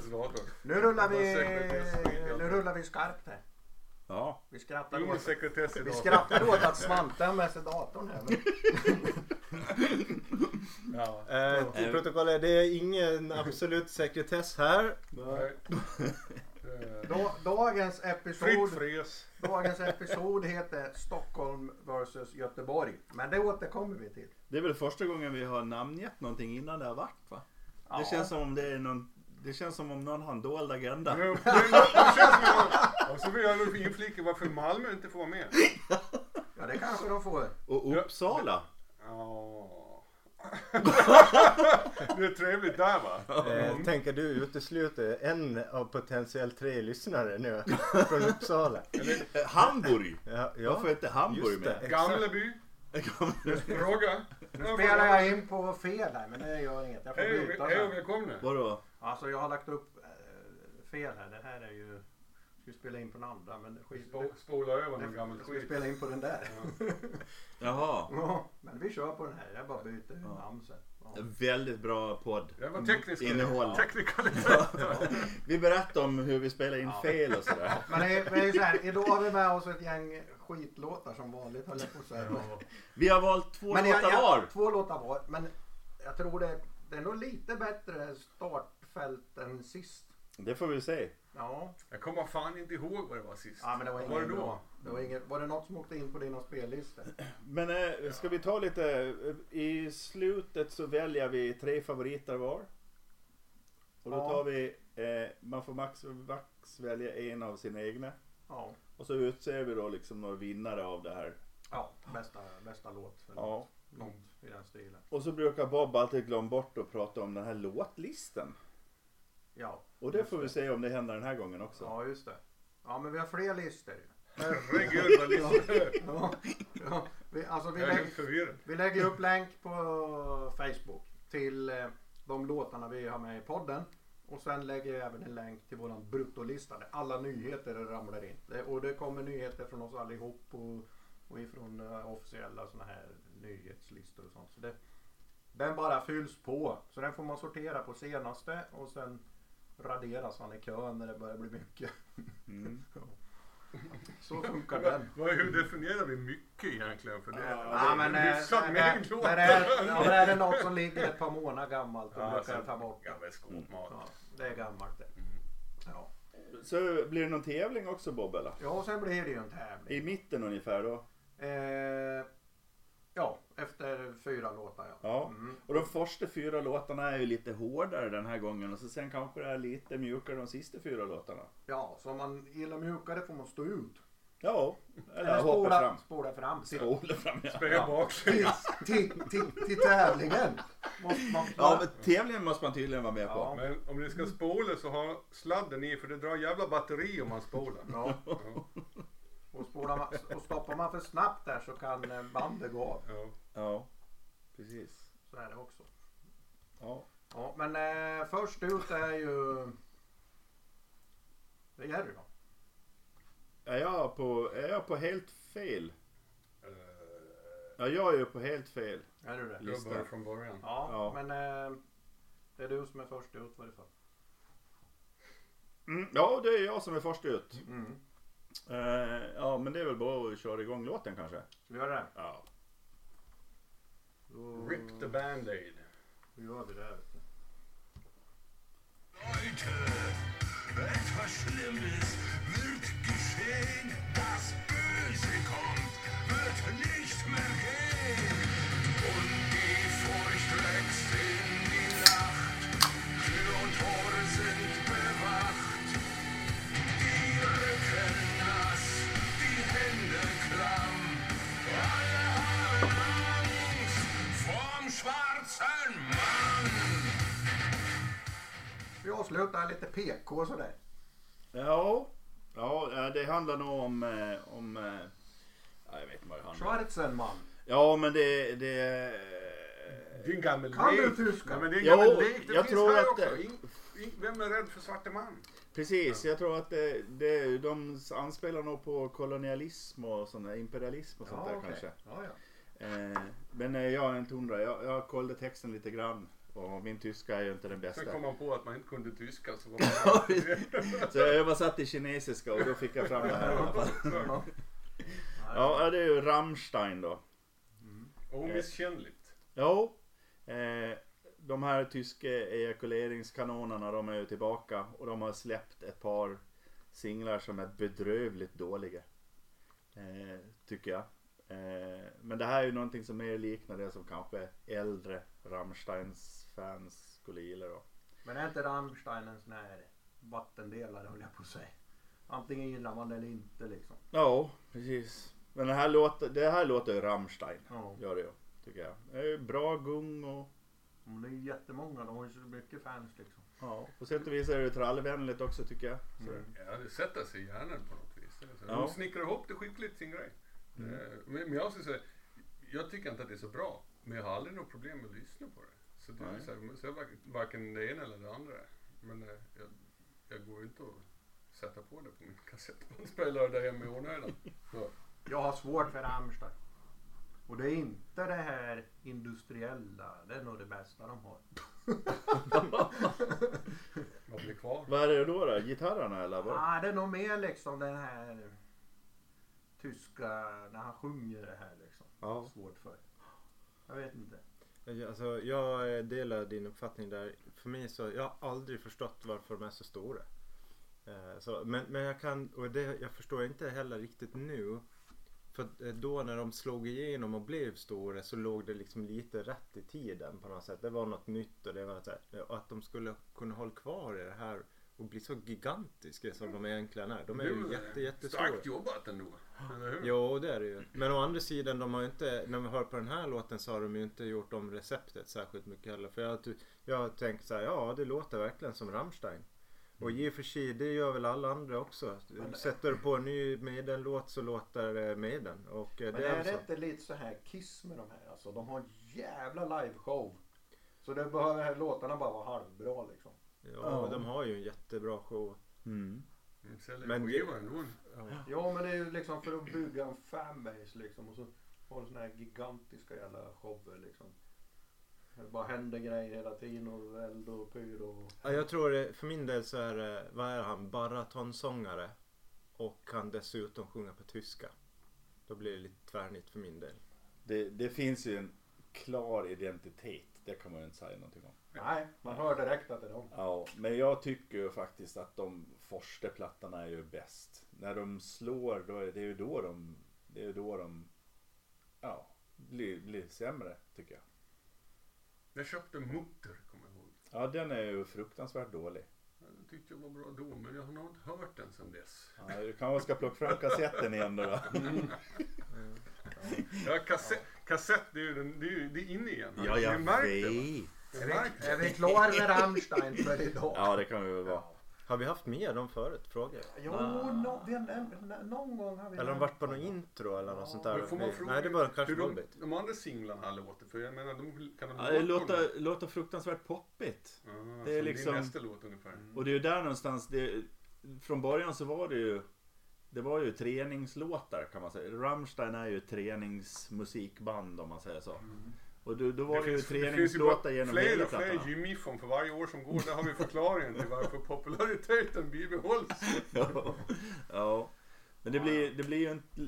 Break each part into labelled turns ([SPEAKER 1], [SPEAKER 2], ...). [SPEAKER 1] skador.
[SPEAKER 2] Nu rullar vi,
[SPEAKER 1] Sekretess-
[SPEAKER 2] nu rullar vi skarpt här.
[SPEAKER 3] Ja.
[SPEAKER 2] Vi skrattar
[SPEAKER 1] Jo,
[SPEAKER 2] åt,
[SPEAKER 1] sekretess
[SPEAKER 2] vi
[SPEAKER 1] idag.
[SPEAKER 2] skrattar åt att Svante har med sig datorn här. Men
[SPEAKER 1] Ja.
[SPEAKER 4] Eh, till protokollet, det är ingen absolut sekretess här.
[SPEAKER 1] Nej. Eh,
[SPEAKER 2] da- dagens
[SPEAKER 1] Fritt
[SPEAKER 2] episod,
[SPEAKER 1] fräs.
[SPEAKER 2] dagens episod heter Stockholm vs Göteborg. Men det återkommer vi till.
[SPEAKER 3] Det är väl första gången vi har namngett någonting innan det har varit va?
[SPEAKER 2] Ja.
[SPEAKER 3] Det känns som om det är någon det känns som om någon har en dold agenda.
[SPEAKER 1] Nu- nu- nu känns det- Och så vill jag inflika varför Malmö inte får vara med.
[SPEAKER 2] Ja, det kanske de får.
[SPEAKER 3] Och Uppsala.
[SPEAKER 1] Ja. Det är trevligt där va?
[SPEAKER 3] Mm.
[SPEAKER 4] Eh, tänker du utesluter en av potentiellt tre lyssnare nu från Uppsala?
[SPEAKER 3] Eh, Hamburg.
[SPEAKER 4] Ja, ja.
[SPEAKER 3] Varför är inte Hamburg
[SPEAKER 4] Just det.
[SPEAKER 3] med?
[SPEAKER 1] Gamleby. Fråga.
[SPEAKER 2] Nu spelar jag in på fel här, men det gör inget. Jag får
[SPEAKER 1] Hej
[SPEAKER 2] byta
[SPEAKER 1] och- hej och
[SPEAKER 2] sen.
[SPEAKER 1] välkomna.
[SPEAKER 3] Vadå?
[SPEAKER 2] Alltså, jag har lagt upp eh, fel här. Det här är ju... Ska spela in på den andra, men skit.
[SPEAKER 1] Spo- Spola över någon gammal
[SPEAKER 2] Jag ska
[SPEAKER 1] skit.
[SPEAKER 2] spela in på den där.
[SPEAKER 3] Jaha.
[SPEAKER 2] Ja, men vi kör på den här. Jag bara byter namn sen. Ja.
[SPEAKER 3] Väldigt bra podd.
[SPEAKER 1] Det var teknisk
[SPEAKER 3] Innehåll.
[SPEAKER 1] teknikalitet.
[SPEAKER 3] Vi berättar om hur vi spelar in fel och sådär.
[SPEAKER 2] Men det är, men det är så här, idag har vi med oss ett gäng skitlåtar som vanligt höll jag på att säga.
[SPEAKER 3] Vi har valt två
[SPEAKER 2] Men jag-
[SPEAKER 3] låtar
[SPEAKER 2] jag-
[SPEAKER 3] var.
[SPEAKER 2] Två låtar var. Men jag tror det, det är nog lite bättre startfält än sist.
[SPEAKER 3] Det får vi se.
[SPEAKER 2] Ja,
[SPEAKER 1] Jag kommer fan inte ihåg vad det var sist.
[SPEAKER 2] ja men det var
[SPEAKER 1] Vad
[SPEAKER 2] inget
[SPEAKER 1] det
[SPEAKER 2] bra. Det var, inget, var det något som åkte in på dina spellistor?
[SPEAKER 3] Men eh, ska vi ta lite, eh, i slutet så väljer vi tre favoriter var. Och då
[SPEAKER 2] Ja.
[SPEAKER 3] tar vi, eh, man får max, max välja en av sina egna.
[SPEAKER 2] Ja,
[SPEAKER 3] Och så utser vi då liksom några vinnare av det här.
[SPEAKER 2] ja bästa, bästa låt. Eller
[SPEAKER 3] Ja.
[SPEAKER 2] Något i den stilen.
[SPEAKER 3] Och så brukar Bob alltid glömma bort att prata om den här låtlisten.
[SPEAKER 2] Ja,
[SPEAKER 3] Och det får vi se om det händer den här gången också.
[SPEAKER 2] ja just det. Ja men vi har fler listor ju.
[SPEAKER 1] Herregud vad listor.
[SPEAKER 2] Ja, ja. Vi, alltså vi
[SPEAKER 1] Jag är
[SPEAKER 2] lägger,
[SPEAKER 1] helt förvirrad.
[SPEAKER 2] vi lägger upp länk på Facebook till eh, de låtarna vi har med i podden. Och sen lägger jag även en länk till våran bruttolista där alla nyheter ramlar in. Det- Och det kommer nyheter från oss allihop och, och ifrån eh, officiella såna här nyhetslistor och sånt. Så det, den bara fylls på. Så den får man sortera på senaste och sen raderas man i kön när det börjar bli mycket.
[SPEAKER 3] Mm.
[SPEAKER 2] Så funkar den.
[SPEAKER 1] Vad- Hur definierar vi mycket egentligen? För det är
[SPEAKER 2] Ja, men, eh,
[SPEAKER 1] hyfsat
[SPEAKER 2] men,
[SPEAKER 1] mängd
[SPEAKER 2] men, är det, ja, men är det något som ligger ett par månader gammalt då
[SPEAKER 1] Ja,
[SPEAKER 2] brukar
[SPEAKER 1] sen-
[SPEAKER 2] jag ta bort det.
[SPEAKER 1] Gammal skåpmat.
[SPEAKER 2] Ja, det är gammalt det. Ja.
[SPEAKER 3] Så blir det någon tävling också Bob eller?
[SPEAKER 2] ja, och sen blir det ju en
[SPEAKER 3] I
[SPEAKER 2] tävling.
[SPEAKER 3] mitten ungefär då?
[SPEAKER 2] Eh, ja, efter fyra låtar ja.
[SPEAKER 3] Ja,
[SPEAKER 2] Mm.
[SPEAKER 3] och de första fyra låtarna är ju lite hårdare den här gången och så sen kanske det är lite mjukare de sista fyra låtarna.
[SPEAKER 2] Ja, så om man gillar mjukare får man stå ut.
[SPEAKER 3] Ja, eller hoppa
[SPEAKER 2] spola,
[SPEAKER 3] fram.
[SPEAKER 2] spola fram. Till,
[SPEAKER 3] Spola fram ja.
[SPEAKER 1] Speja baksidan.
[SPEAKER 2] till, till, till, till tävlingen. Måste man,
[SPEAKER 3] Ja, men tävlingen måste man tydligen vara med på.
[SPEAKER 2] Ja.
[SPEAKER 1] Men om ni ska spola så ha sladden i för det drar jävla batteri om man spolar.
[SPEAKER 2] ja,
[SPEAKER 1] Ja,
[SPEAKER 2] och, spolar man, och stoppar man för snabbt där så kan eh, bandet gå av.
[SPEAKER 1] ja.
[SPEAKER 3] Ja, precis.
[SPEAKER 2] Så är det också.
[SPEAKER 3] Ja.
[SPEAKER 2] Ja, men eh, först ut är ju... Det är Jerry va?
[SPEAKER 3] Är, jag på, är jag på helt fel?
[SPEAKER 1] Eh,
[SPEAKER 3] Ja, jag är ju på helt fel.
[SPEAKER 2] Är du det?
[SPEAKER 1] Jag
[SPEAKER 3] Lyssna.
[SPEAKER 1] börjar från början.
[SPEAKER 2] Ja,
[SPEAKER 3] Ja.
[SPEAKER 2] men eh, det är du som är först ut vad det för.
[SPEAKER 3] Mm, ja, det är jag som är först ut.
[SPEAKER 2] Mm.
[SPEAKER 3] Eh, ja, men det är väl bara att köra igång låten kanske.
[SPEAKER 2] Ska vi göra det?
[SPEAKER 3] Ja.
[SPEAKER 2] Då,
[SPEAKER 1] Rip the band-aid.
[SPEAKER 2] då gör vi det. här, Vet du.
[SPEAKER 5] Leute, etwas Schlimmes wird geschehen. Das Böse kommt, wird nicht mehr gehen. Und die Furcht wächst in die Nacht. Tür und Tore sind bewacht. Die Rücken nass, die Hände klamm. Alle haben Angst vorm schwarzen Mann.
[SPEAKER 2] Vi avslutar lite PK sådär.
[SPEAKER 3] Ja, ja eh, det handlar nog om... eh, om eh, ja, jag vet inte vad det handlar om.
[SPEAKER 2] Schwarzenman.
[SPEAKER 3] Ja, men det... det eh,
[SPEAKER 1] Det är en gammal
[SPEAKER 2] Kan
[SPEAKER 1] lek.
[SPEAKER 2] du tyska?
[SPEAKER 1] Nej, men det är en
[SPEAKER 3] Jo,
[SPEAKER 1] gammal lek. Det
[SPEAKER 3] jag
[SPEAKER 1] finns
[SPEAKER 3] tror
[SPEAKER 1] här
[SPEAKER 3] att
[SPEAKER 1] också.
[SPEAKER 3] det-
[SPEAKER 1] In, in, vem är rädd för svarte man?
[SPEAKER 3] precis, jag tror att det, det, de anspelar nog på kolonialism och sånt där, imperialism och sånt där
[SPEAKER 2] okej.
[SPEAKER 3] kanske.
[SPEAKER 2] Ja, ja.
[SPEAKER 3] Eh, men eh, jag är inte hundra, jag, jag kollade texten lite grann. Och min tyska är ju inte den bästa.
[SPEAKER 1] Sen kom man på att man inte kunde tyska. Så var man...
[SPEAKER 3] Så jag översatte till kinesiska och då fick jag fram det här i alla fall.
[SPEAKER 1] Ja,
[SPEAKER 3] Ja, det är ju Rammstein då.
[SPEAKER 1] Omisskännligt.
[SPEAKER 3] Jo, eh, de här tyska ejakuleringskanonerna de är ju tillbaka och de har släppt ett par singlar som är bedrövligt dåliga. Eh, tycker jag. Eh, men det här är ju någonting som mer liknar det som kanske äldre Rammsteins fans skulle gilla då.
[SPEAKER 2] Men är inte Rammstein en sån här vattendelare höll jag på att säga. Antingen gillar man det eller inte liksom.
[SPEAKER 3] Ja, precis. Men det här låter, det här låter ju Rammstein.
[SPEAKER 2] Ja.
[SPEAKER 3] Gör det ju, tycker jag. Det är ju bra gung och
[SPEAKER 2] De är ju jättemånga, de har ju så mycket fans liksom.
[SPEAKER 3] ja, på sätt och vis är det ju trallvänligt också tycker jag. Så.
[SPEAKER 1] Ja, det sätter sig i hjärnan på något vis. Alltså,
[SPEAKER 3] Ja.
[SPEAKER 1] De snickrar ihop det skickligt, sin grej. Eh, Men men jag skulle säga, jag tycker inte att det är så bra. Men jag har aldrig något problem med att lyssna på det. Så, det är
[SPEAKER 3] Nej.
[SPEAKER 1] så, här, så jag varken- varken det ena eller det andra. Men eh, jag, jag går inte att sätta på det på min kassettbandspelare där hemma i onödan. Så,
[SPEAKER 2] Jag har svårt för Rammstein. Och det är inte det här industriella, det är nog det bästa de har.
[SPEAKER 1] Vad blir kvar?
[SPEAKER 3] Vad är det då då? Gitarrerna eller vad?
[SPEAKER 2] Ah, det är nog mer liksom den här tyska, när han sjunger det här liksom.
[SPEAKER 4] Ja.
[SPEAKER 2] Svårt för. Jag vet inte.
[SPEAKER 4] Alltså, jag eh, delar din uppfattning där. För mig så, jag har aldrig förstått varför de är så stora. Eh, så, men, men jag kan, och det, jag förstår inte heller riktigt nu. För att, eh, då när de slog igenom och blev stora så låg det liksom lite rätt i tiden på något sätt. Det var något nytt och det var så här, eh, och att de skulle kunna hålla kvar i det här och bli så gigantiska som de egentligen är. De är
[SPEAKER 1] Det
[SPEAKER 4] ju
[SPEAKER 1] väl
[SPEAKER 4] jätte, jättestora.
[SPEAKER 1] Starkt jobbat ändå. Eller hur?
[SPEAKER 4] Jo, det är det ju. Men å andra sidan, de har ju inte, när vi hör på den här låten så har de ju inte gjort om receptet särskilt mycket heller. För jag, ty- jag har tänkt så här, ja det låter verkligen som Rammstein. Och i och för sig, det gör väl alla andra också. Sätter du på en ny Maiden-låt så låter det Maiden. Och eh,
[SPEAKER 2] Men
[SPEAKER 4] det är,
[SPEAKER 2] är
[SPEAKER 4] väl så.
[SPEAKER 2] det inte lite så här Kiss med de här? Alltså, de har en jävla liveshow. Så det behöver låtarna bara vara halvbra liksom.
[SPEAKER 4] Ja, de har ju en jättebra show.
[SPEAKER 3] Mm.
[SPEAKER 1] Mm, Säljer
[SPEAKER 4] Men
[SPEAKER 1] men
[SPEAKER 4] det-
[SPEAKER 1] skiva ändå.
[SPEAKER 2] Ja men det är ju liksom för att bygga en fanbase liksom och så har du såna här gigantiska jävla shower liksom. Det bara händer grejer hela tiden och eld och pyro. och-
[SPEAKER 4] Ja, jag tror det, för min del så är det, vad är han, baratonsångare. Och kan dessutom sjunga på tyska. Då blir det lite tvärnit för min del.
[SPEAKER 3] Det, det finns ju en klar identitet. Det kan man ju inte säga någonting om.
[SPEAKER 2] Nej, man hör direkt att det är dem.
[SPEAKER 3] Ja, men jag tycker ju faktiskt att de första plattorna är ju bäst. När de slår, då är det är ju då de, det är ju då de ja, blir, blir sämre tycker jag.
[SPEAKER 1] Jag köpte Mutter, kommer jag ihåg.
[SPEAKER 3] Ja, den är ju fruktansvärt dålig.
[SPEAKER 1] Jag tyckte jag var bra då, men jag har nog inte hört den sedan dess.
[SPEAKER 3] Ja, du kanske ska plocka fram kassetten igen då. då.
[SPEAKER 1] Ja, kassett, kassett det, är ju den, det, är ju, det är inne igen. jag märkte det. Jag märkte
[SPEAKER 2] Är vi klara med Rammstein för idag?
[SPEAKER 3] Ja, det kan vi väl vara.
[SPEAKER 4] Har vi haft med dem förut? Frågar jag.
[SPEAKER 2] Jo, nå- det- en- någon gång har vi
[SPEAKER 4] Eller har de varit på någon intro eller något sånt där?
[SPEAKER 1] Men får man fråga
[SPEAKER 4] Nej, det var kanske
[SPEAKER 1] hur de,
[SPEAKER 4] Robert.
[SPEAKER 1] de andra singlarna låter? För jag menar, de kan de
[SPEAKER 3] Ja, det
[SPEAKER 1] låta på den?
[SPEAKER 3] låter, låter fruktansvärt poppigt.
[SPEAKER 1] Ah,
[SPEAKER 3] det är
[SPEAKER 1] som
[SPEAKER 3] liksom-
[SPEAKER 1] Din nästa låt ungefär.
[SPEAKER 3] Och det är ju där någonstans, det, från början så var det ju det var ju träningslåtar kan man säga. Rammstein är ju ett träningsmusikband om man säger så.
[SPEAKER 1] Mm.
[SPEAKER 3] Och då, då var det, ju träningslåtar
[SPEAKER 1] bara
[SPEAKER 3] genom
[SPEAKER 1] fler
[SPEAKER 3] hela
[SPEAKER 1] och fler
[SPEAKER 3] plattan.
[SPEAKER 1] gymmiffon för varje år som går. Där har vi förklaringen till varför populariteten bibehålls.
[SPEAKER 3] Ja. ja. Men det blir, det blir ju inte,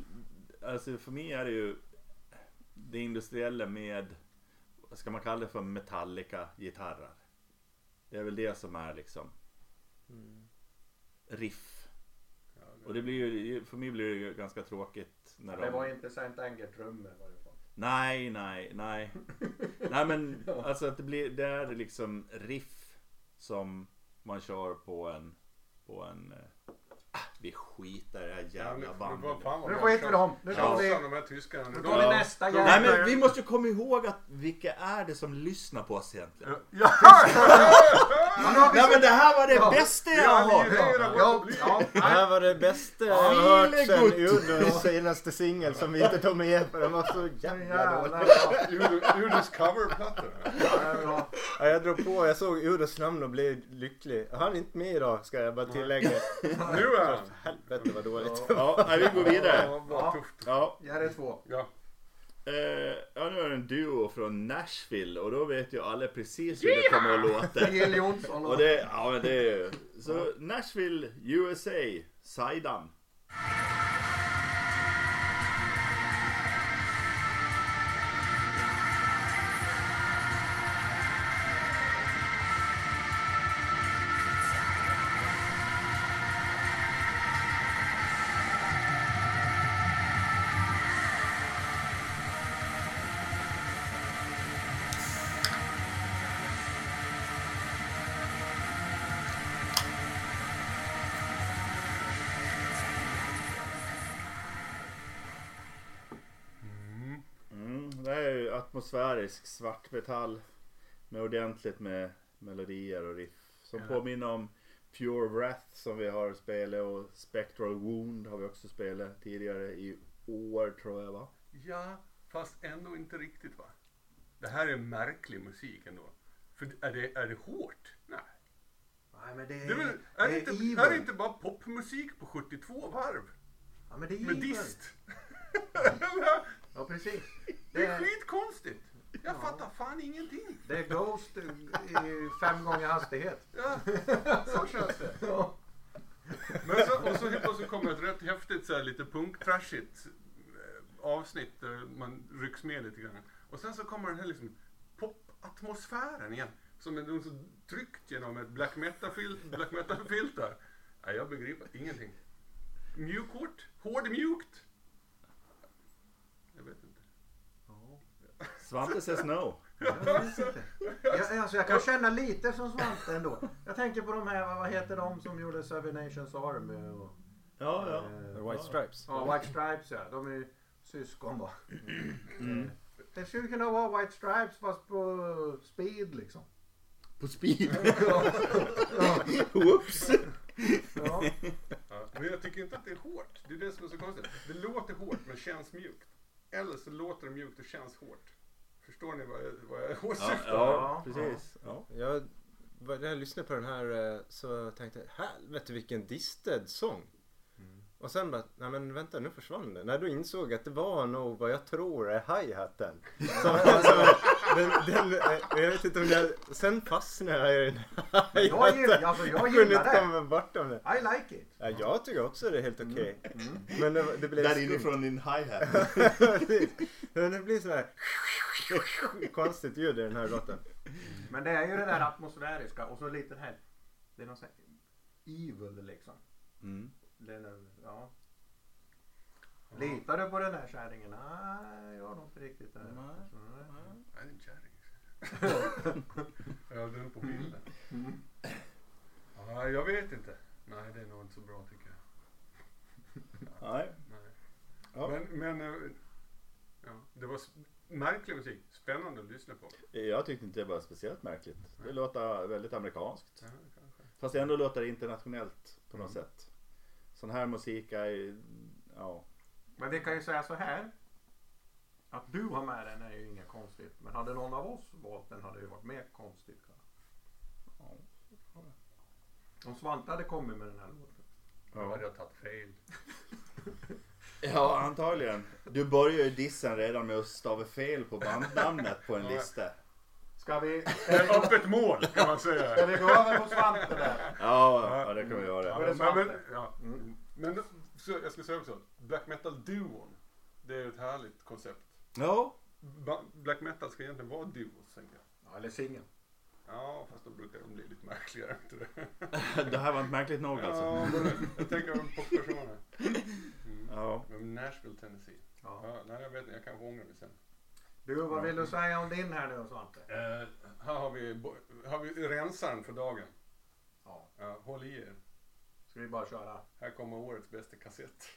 [SPEAKER 3] alltså för mig är det ju det industriella med, vad ska man kalla det för, metallica gitarrer. Det är väl det som är liksom riff. Och det blir ju, för mig blir det ju ganska tråkigt när
[SPEAKER 2] Det
[SPEAKER 3] de...
[SPEAKER 2] var inte Saint Anger-trummor i varje fall.
[SPEAKER 3] Nej, nej, nej. nej men alltså att det blir, det är liksom riff som man kör på en, på en... eh, Ah, vi skiter i det här jävla bandet.
[SPEAKER 2] Nu skiter vi dem. Nu
[SPEAKER 1] tar
[SPEAKER 2] tar
[SPEAKER 1] vi
[SPEAKER 2] vi-
[SPEAKER 1] de här tyskarna.
[SPEAKER 2] Nu
[SPEAKER 1] De-
[SPEAKER 2] tar vi nästa jävla...
[SPEAKER 3] Nej men vi måste ju komma ihåg att vilka är det som lyssnar på oss egentligen? Nej men det här var det bästa jag har
[SPEAKER 1] Ja,
[SPEAKER 3] hört!
[SPEAKER 1] vi är-
[SPEAKER 2] Ja, ja,
[SPEAKER 4] Det här var det bästa jag har
[SPEAKER 3] Ja.
[SPEAKER 4] hört sen
[SPEAKER 3] Feelgood.
[SPEAKER 4] Udos senaste singel som vi inte tog med för den var så jävla dålig.
[SPEAKER 2] jävlar ja.
[SPEAKER 1] Ur- Ur dess coverplattor.
[SPEAKER 2] Ja,
[SPEAKER 4] Ja, jag drog på, jag såg Udos namn och blev lycklig. Han är inte med idag ska jag bara tillägga.
[SPEAKER 1] Nu är han.
[SPEAKER 4] Helvete vad dåligt.
[SPEAKER 3] Ja, nej, vi går vidare.
[SPEAKER 1] Ja, vad tufft.
[SPEAKER 3] Ja,
[SPEAKER 2] Jerry 2.
[SPEAKER 1] Ja.
[SPEAKER 3] Eh, ja, nu är det en duo från Nashville och då vet ju alla precis hur det kommer att låta.
[SPEAKER 2] Jill Johnson
[SPEAKER 3] Och det, ja, men det är ju... Så Nashville, USA, Saidan.
[SPEAKER 1] Mm.
[SPEAKER 3] Mm, det här är ju atmosfärisk svartmetall med ordentligt med melodier och riff som
[SPEAKER 4] Ja.
[SPEAKER 3] påminner om Pure Wrath som vi har spelat och Spectral Wound har vi också spelat tidigare i år tror jag va?
[SPEAKER 1] Ja, fast ändå inte riktigt va? Det här är märklig musik ändå. För är det, är det hårt? Nej.
[SPEAKER 2] Nej men det är,
[SPEAKER 1] Det är, väl, är, det
[SPEAKER 2] det är evil.
[SPEAKER 1] inte, är det inte bara popmusik på 72 varv?
[SPEAKER 2] Ja men det är
[SPEAKER 1] Med
[SPEAKER 2] evil.
[SPEAKER 1] dist? Eller?
[SPEAKER 2] Ja precis.
[SPEAKER 1] det
[SPEAKER 2] Det
[SPEAKER 1] är
[SPEAKER 2] är,
[SPEAKER 1] skitkonstigt! Jag
[SPEAKER 2] Ja.
[SPEAKER 1] fattar fan ingenting.
[SPEAKER 2] det är Ghost i fem gånger hastighet.
[SPEAKER 1] Ja, så känns det.
[SPEAKER 2] Ja.
[SPEAKER 1] Men så, och så helt plötsligt kommer ett rätt häftigt, så här, lite punktrashigt eh, avsnitt där man rycks med lite grann. Och sen så kommer den här liksom popatmosfären igen. Som är någon så tryckt genom ett black metal-filter. Black metal filter. Nej, jag begriper ingenting. Mjukhårt? Hårdmjukt? Jag vet inte.
[SPEAKER 3] Svante says no.
[SPEAKER 2] Jag, vet inte. jag, alltså, jag kan känna lite som Svante ändå. Jag tänker på de här, vad- vad heter de som gjorde Seven Nations Army och
[SPEAKER 3] Ja, ja.
[SPEAKER 2] eh,
[SPEAKER 4] White Stripes.
[SPEAKER 2] Ja, White Stripes ja. De är ju syskon va.
[SPEAKER 1] Mm.
[SPEAKER 2] Det skulle kunna vara White Stripes fast på speed liksom.
[SPEAKER 3] På speed.
[SPEAKER 2] Ja.
[SPEAKER 3] Whoops.
[SPEAKER 2] Ja.
[SPEAKER 1] Ja, men jag tycker inte att det är hårt. Det är det som är så konstigt. Det låter hårt men känns mjukt. Eller så låter det mjukt och känns hårt. Förstår ni vad jag, vad jag
[SPEAKER 3] Ja,
[SPEAKER 1] åsyftar?
[SPEAKER 3] ja precis. Ja.
[SPEAKER 4] Jag, var- när jag lyssnade på den här eh, så tänkte jag helvete vilken disted sång.
[SPEAKER 2] Mm.
[SPEAKER 4] Och sen bara, nej men vänta nu försvann den. När du insåg jag att det var nog vad jag tror är hi-haten. Som, som, den, den, eh, jag vet inte om jag, sen fastnade jag i den här
[SPEAKER 2] Men jag gillar-
[SPEAKER 4] hi-haten.
[SPEAKER 2] alltså, jag
[SPEAKER 4] kunde
[SPEAKER 2] gillar
[SPEAKER 4] inte
[SPEAKER 2] det.
[SPEAKER 4] komma bort om det.
[SPEAKER 2] I like it.
[SPEAKER 4] Ja, jag tycker också det är helt okej.
[SPEAKER 2] Mm.
[SPEAKER 4] Men det, det blev
[SPEAKER 3] Där
[SPEAKER 4] skumt.
[SPEAKER 3] inifrån din hi-hat.
[SPEAKER 4] Precis. Men det blir sådär konstigt ljud i den här låten.
[SPEAKER 2] Men det är ju det där atmosfäriska och så lite det här. Det är någon sån här evil liksom.
[SPEAKER 3] Mm.
[SPEAKER 2] Det är nu, ja. Litar du på den här kärringen? Nej, jag har nog inte riktigt det. Nej.
[SPEAKER 1] Nej, det är en kärring. jag hade den på bilden. Ja, jag vet inte. Nej, det är nog inte så bra tycker jag.
[SPEAKER 3] Nej.
[SPEAKER 1] Nej.
[SPEAKER 3] Ja.
[SPEAKER 1] Men, men eh, ja, det var s- märklig musik. Spännande att lyssna på.
[SPEAKER 3] Jag tyckte inte det var speciellt märkligt. Det låter väldigt amerikanskt.
[SPEAKER 1] Ja, kanske.
[SPEAKER 3] Fast ändå låter det internationellt på något
[SPEAKER 1] Mm.
[SPEAKER 3] sätt. Sån här musik är ju- ja.
[SPEAKER 2] Men vi kan ju säga så här. Att du har med den är ju inget konstigt. Men hade någon av oss valt den hade det ju varit mer konstigt. kanske.
[SPEAKER 3] Ja.
[SPEAKER 2] Om Svante hade kommit med den här låten.
[SPEAKER 1] Då hade jag tagit fel.
[SPEAKER 3] Ja, antagligen. Du börjar ju dissen redan med att stava fel på bandnamnet på en
[SPEAKER 1] Ja.
[SPEAKER 3] lista.
[SPEAKER 2] Ska vi,
[SPEAKER 1] Ett öppet mål kan man säga.
[SPEAKER 2] ska vi gå över på Svante där?
[SPEAKER 3] Ja, ja det kan vi
[SPEAKER 1] Ja,
[SPEAKER 3] göra.
[SPEAKER 2] det
[SPEAKER 1] men,
[SPEAKER 2] sant
[SPEAKER 1] men,
[SPEAKER 2] det?
[SPEAKER 1] ja. men så, jag ska säga också, black metal-duon, det är ett härligt koncept.
[SPEAKER 3] Ja.
[SPEAKER 1] Ba- Black metal ska egentligen vara duos, tänker jag.
[SPEAKER 2] Ja, eller singeln.
[SPEAKER 1] Ja, fast då brukar de bli lite märkligare. Inte det?
[SPEAKER 3] Det här var inte märkligt nog alltså.
[SPEAKER 1] Ja, men jag tänker på personer. Mm.
[SPEAKER 3] Ja.
[SPEAKER 1] Men Nashville, Tennessee.
[SPEAKER 2] Ja.
[SPEAKER 1] Ja, nej, jag vet inte, jag kanske ångrar mig sen.
[SPEAKER 2] Du, vad vill du säga om din här nu Svante?
[SPEAKER 1] Eh, här har vi, bo- har vi rensaren för dagen.
[SPEAKER 2] Ja.
[SPEAKER 1] Ja, håll i er.
[SPEAKER 2] Ska vi bara köra?
[SPEAKER 1] Här kommer årets bästa kassett.